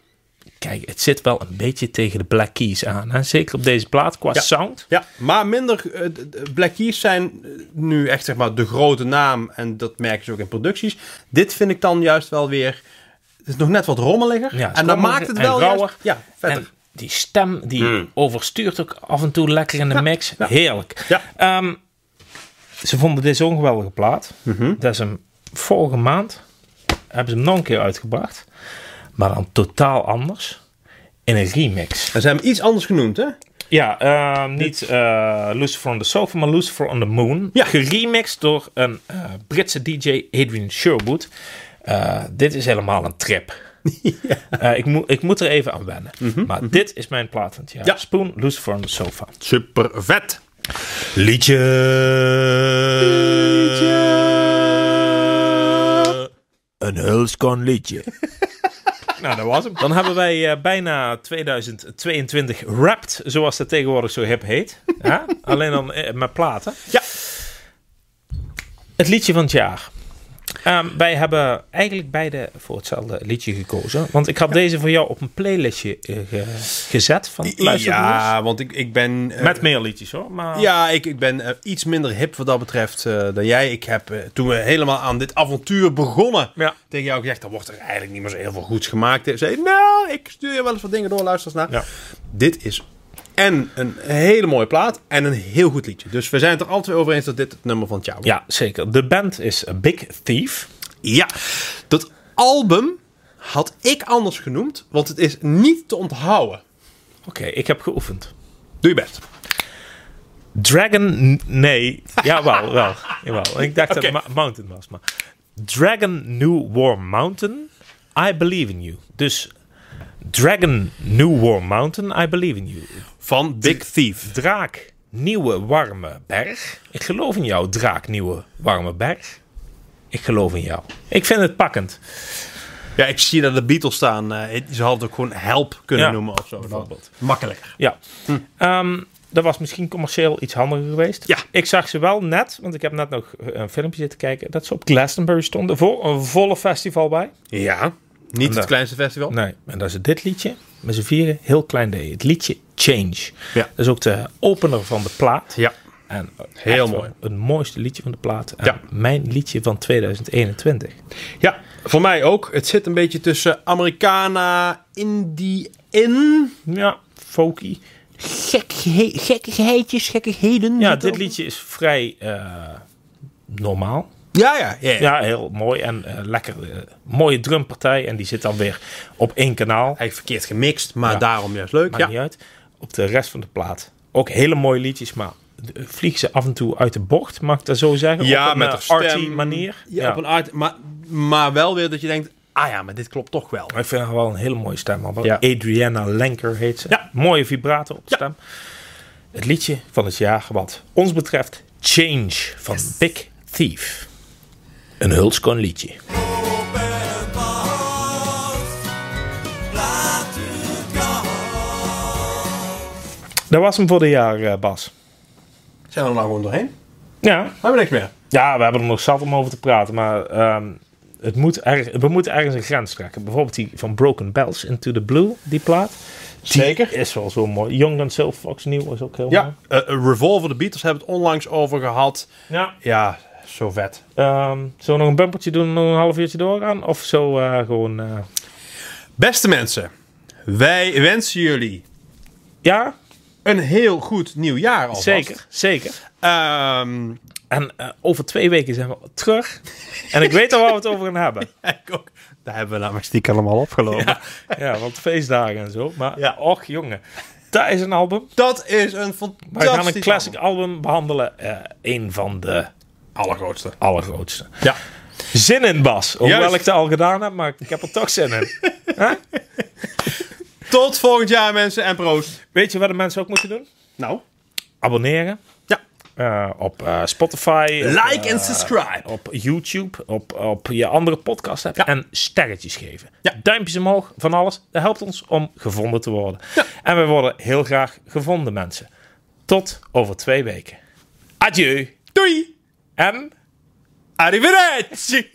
[SPEAKER 2] kijk, het zit wel een beetje tegen de Black Keys aan. Hè? Zeker op deze plaat qua
[SPEAKER 1] Ja.
[SPEAKER 2] sound.
[SPEAKER 1] Ja, maar minder. eh, d- d- Black Keys zijn eh, nu echt zeg maar de grote naam. En dat merken ze ook in producties. Dit vind ik dan juist wel weer. Het is nog net wat rommeliger.
[SPEAKER 2] Ja, het is
[SPEAKER 1] en dan
[SPEAKER 2] rommeliger
[SPEAKER 1] maakt het
[SPEAKER 2] en
[SPEAKER 1] wel.
[SPEAKER 2] rauwer.
[SPEAKER 1] Juist, ja, vetter.
[SPEAKER 2] En die stem, die overstuurt ook af en toe lekker in de mix. Heerlijk.
[SPEAKER 1] Mm. Ja.
[SPEAKER 2] Ehm, ze vonden dit zo'n geweldige plaat.
[SPEAKER 1] Mhm.
[SPEAKER 2] Dat is hem vorige maand. Hebben ze hem nog een keer uitgebracht. Maar dan totaal anders. In een remix.
[SPEAKER 1] En ze hebben hem iets anders genoemd, hè?
[SPEAKER 2] Ja, ehm, niet eh, Lucifer on the Sofa, maar Lucifer on the Moon.
[SPEAKER 1] Ja.
[SPEAKER 2] Geremixed door een eh, Britse DJ, Adrian Sherwood. Eh, dit is helemaal een trip. Eh, ik, moet ik moet er even aan wennen. Maar dit is mijn plaat van het jaar.
[SPEAKER 1] Mhm. Ja.
[SPEAKER 2] Spoon, Lucifer on the Sofa.
[SPEAKER 1] Super vet.
[SPEAKER 2] Liedje.
[SPEAKER 4] Een hulskon liedje.
[SPEAKER 2] Nou, dat was hem. Dan hebben wij eh, bijna 2022 wrapped, zoals dat tegenwoordig zo hip heet. Ja? Alleen dan eh, met platen.
[SPEAKER 1] Ja.
[SPEAKER 2] Het liedje van het jaar. Ehm, wij hebben eigenlijk beide voor hetzelfde liedje gekozen. Want ik had deze voor jou op een playlistje eh, ge- gezet van luisterboers.
[SPEAKER 1] Ja, want ik, ik ben. eh,
[SPEAKER 2] Met meer liedjes hoor. Maar
[SPEAKER 1] Ja, ik, ik ben eh, iets minder hip wat dat betreft eh, dan jij. Ik heb eh, toen we helemaal aan dit avontuur begonnen
[SPEAKER 2] Ja.
[SPEAKER 1] tegen jou gezegd, dan wordt er eigenlijk niet meer zo heel veel goeds gemaakt. Ik zei, nou, ik stuur je wel eens wat dingen door, luister eens naar.
[SPEAKER 2] Ja.
[SPEAKER 1] Dit is en een hele mooie plaat en een heel goed liedje. Dus we zijn het er altijd over eens dat dit het nummer van het jaar wordt.
[SPEAKER 2] Ja, zeker. De band is A Big Thief.
[SPEAKER 1] Ja, dat album had ik anders genoemd, want het is niet te onthouden.
[SPEAKER 2] Oké, ik heb geoefend.
[SPEAKER 1] Doe je best.
[SPEAKER 2] Dragon. Nee. Ja, wel. wel. Jawel. Ik dacht
[SPEAKER 1] Oké.
[SPEAKER 2] dat het Ma- Mountain was. Maar. Dragon New War Mountain. I believe in you. Dus. Dragon New War Mountain. I believe in you.
[SPEAKER 1] Van Big Thief.
[SPEAKER 2] Draak Nieuwe Warme Berg. Ik geloof in jou, Draak Nieuwe Warme Berg. Ik geloof in jou. Ik vind het pakkend.
[SPEAKER 1] Ja, ik zie dat de Beatles staan. eh, ze hadden ook gewoon Help kunnen
[SPEAKER 2] Ja,
[SPEAKER 1] noemen of zo.
[SPEAKER 2] bijvoorbeeld.
[SPEAKER 1] Makkelijker.
[SPEAKER 2] Ja. Ehm, dat was misschien commercieel iets handiger geweest.
[SPEAKER 1] Hm. Ja.
[SPEAKER 2] Ik zag ze wel net, want ik heb net nog eh, een filmpje zitten kijken, dat ze op Glastonbury stonden. Voor een volle festival bij.
[SPEAKER 1] Ja. Niet
[SPEAKER 2] Nee.
[SPEAKER 1] het kleinste festival.
[SPEAKER 2] Nee, en dat is dit liedje. Met z'n vieren, heel klein D. Het liedje Change.
[SPEAKER 1] Ja.
[SPEAKER 2] Dat is ook de opener van de plaat.
[SPEAKER 1] Ja.
[SPEAKER 2] En echt
[SPEAKER 1] Heel
[SPEAKER 2] wel
[SPEAKER 1] mooi.
[SPEAKER 2] Het mooiste liedje van de plaat. En
[SPEAKER 1] Ja.
[SPEAKER 2] Mijn liedje van 2021.
[SPEAKER 1] ja, voor mij ook. Het zit een beetje tussen Americana, Indie in.
[SPEAKER 2] Ja, folky.
[SPEAKER 1] gekkigheidjes, gekkigheden.
[SPEAKER 2] Ja, dit liedje is vrij eh, normaal.
[SPEAKER 1] Ja, ja, ja. ja.
[SPEAKER 2] Ja, heel mooi en eh, lekker. eh, mooie drumpartij. En die zit dan weer op één kanaal.
[SPEAKER 1] Eigenlijk verkeerd gemixt, maar
[SPEAKER 2] Ja.
[SPEAKER 1] daarom juist leuk.
[SPEAKER 2] Maakt
[SPEAKER 1] Ja.
[SPEAKER 2] niet uit. Op de rest van de plaat. Ook hele mooie liedjes, maar eh, vliegen ze af en toe uit de bocht, mag ik dat zo zeggen?
[SPEAKER 1] Ja,
[SPEAKER 2] op een
[SPEAKER 1] met
[SPEAKER 2] eh,
[SPEAKER 1] haar stem.
[SPEAKER 2] arty manier.
[SPEAKER 1] Ja, op een art, maar, maar wel weer dat je denkt, ah ja, maar dit klopt toch wel.
[SPEAKER 2] Maar ik vind haar wel een hele mooie stem. man.
[SPEAKER 1] Ja.
[SPEAKER 2] Adriana Lenker heet ze.
[SPEAKER 1] Ja.
[SPEAKER 2] Mooie vibrato op de stem. Het liedje van het jaar, wat ons betreft, Change van Big Thief. Een hulskon liedje.
[SPEAKER 3] Open my heart, fly to God.
[SPEAKER 2] Dat was hem voor dit jaar, eh, Bas.
[SPEAKER 1] Zijn we er nou gewoon doorheen?
[SPEAKER 2] Ja,
[SPEAKER 1] Hebben we niks meer?
[SPEAKER 2] Ja, we hebben er nog zat om over te praten, maar ehm, het moet er, we moeten ergens een grens trekken. Bijvoorbeeld die van Broken Bells Into the Blue, die plaat. Die
[SPEAKER 1] Zeker.
[SPEAKER 2] Is wel zo mooi. Young Gun Self Fox Nieuw is ook heel mooi.
[SPEAKER 1] Ja. Eh, Revolver, de Beatles hebben het onlangs over gehad.
[SPEAKER 2] Ja.
[SPEAKER 1] Ja, zo vet.
[SPEAKER 2] Ehm, zullen we nog een bumpertje doen en nog een half uurtje doorgaan? Of zo eh, gewoon... eh,
[SPEAKER 1] Beste mensen, wij wensen jullie
[SPEAKER 2] Ja,
[SPEAKER 1] een heel goed nieuw jaar alvast.
[SPEAKER 2] zeker. Zeker.
[SPEAKER 1] Ehm,
[SPEAKER 2] En eh, over twee weken zijn we terug. en ik weet al waar we het over gaan hebben.
[SPEAKER 1] ik ook. Daar hebben we namelijk stiekem allemaal opgelopen.
[SPEAKER 2] Ja, want feestdagen en zo. Maar
[SPEAKER 1] Ja.
[SPEAKER 2] och jongen. Dat is een album.
[SPEAKER 1] Dat is een
[SPEAKER 2] Wij
[SPEAKER 1] fantastisch
[SPEAKER 2] gaan een classic album, behandelen. Eh, een van de
[SPEAKER 1] Allergrootste.
[SPEAKER 2] allergrootste.
[SPEAKER 1] Ja.
[SPEAKER 2] Zin in, Bas. Hoewel
[SPEAKER 1] Juist.
[SPEAKER 2] ik het al gedaan heb, maar ik heb er toch zin in.
[SPEAKER 1] Tot volgend jaar mensen en proost.
[SPEAKER 2] Weet je wat de mensen ook moeten doen?
[SPEAKER 1] Nou.
[SPEAKER 2] Abonneren.
[SPEAKER 1] Ja.
[SPEAKER 2] eh, op eh, Spotify. op,
[SPEAKER 1] Like
[SPEAKER 2] eh,
[SPEAKER 1] en subscribe.
[SPEAKER 2] op YouTube, op, op je andere podcast hebt. En sterretjes geven.
[SPEAKER 1] Ja.
[SPEAKER 2] Duimpjes omhoog, van alles. Dat helpt ons om gevonden te worden. En we worden heel graag gevonden, mensen. Tot over twee weken. Adieu.
[SPEAKER 1] Doei.
[SPEAKER 2] En...
[SPEAKER 1] Arrivederci.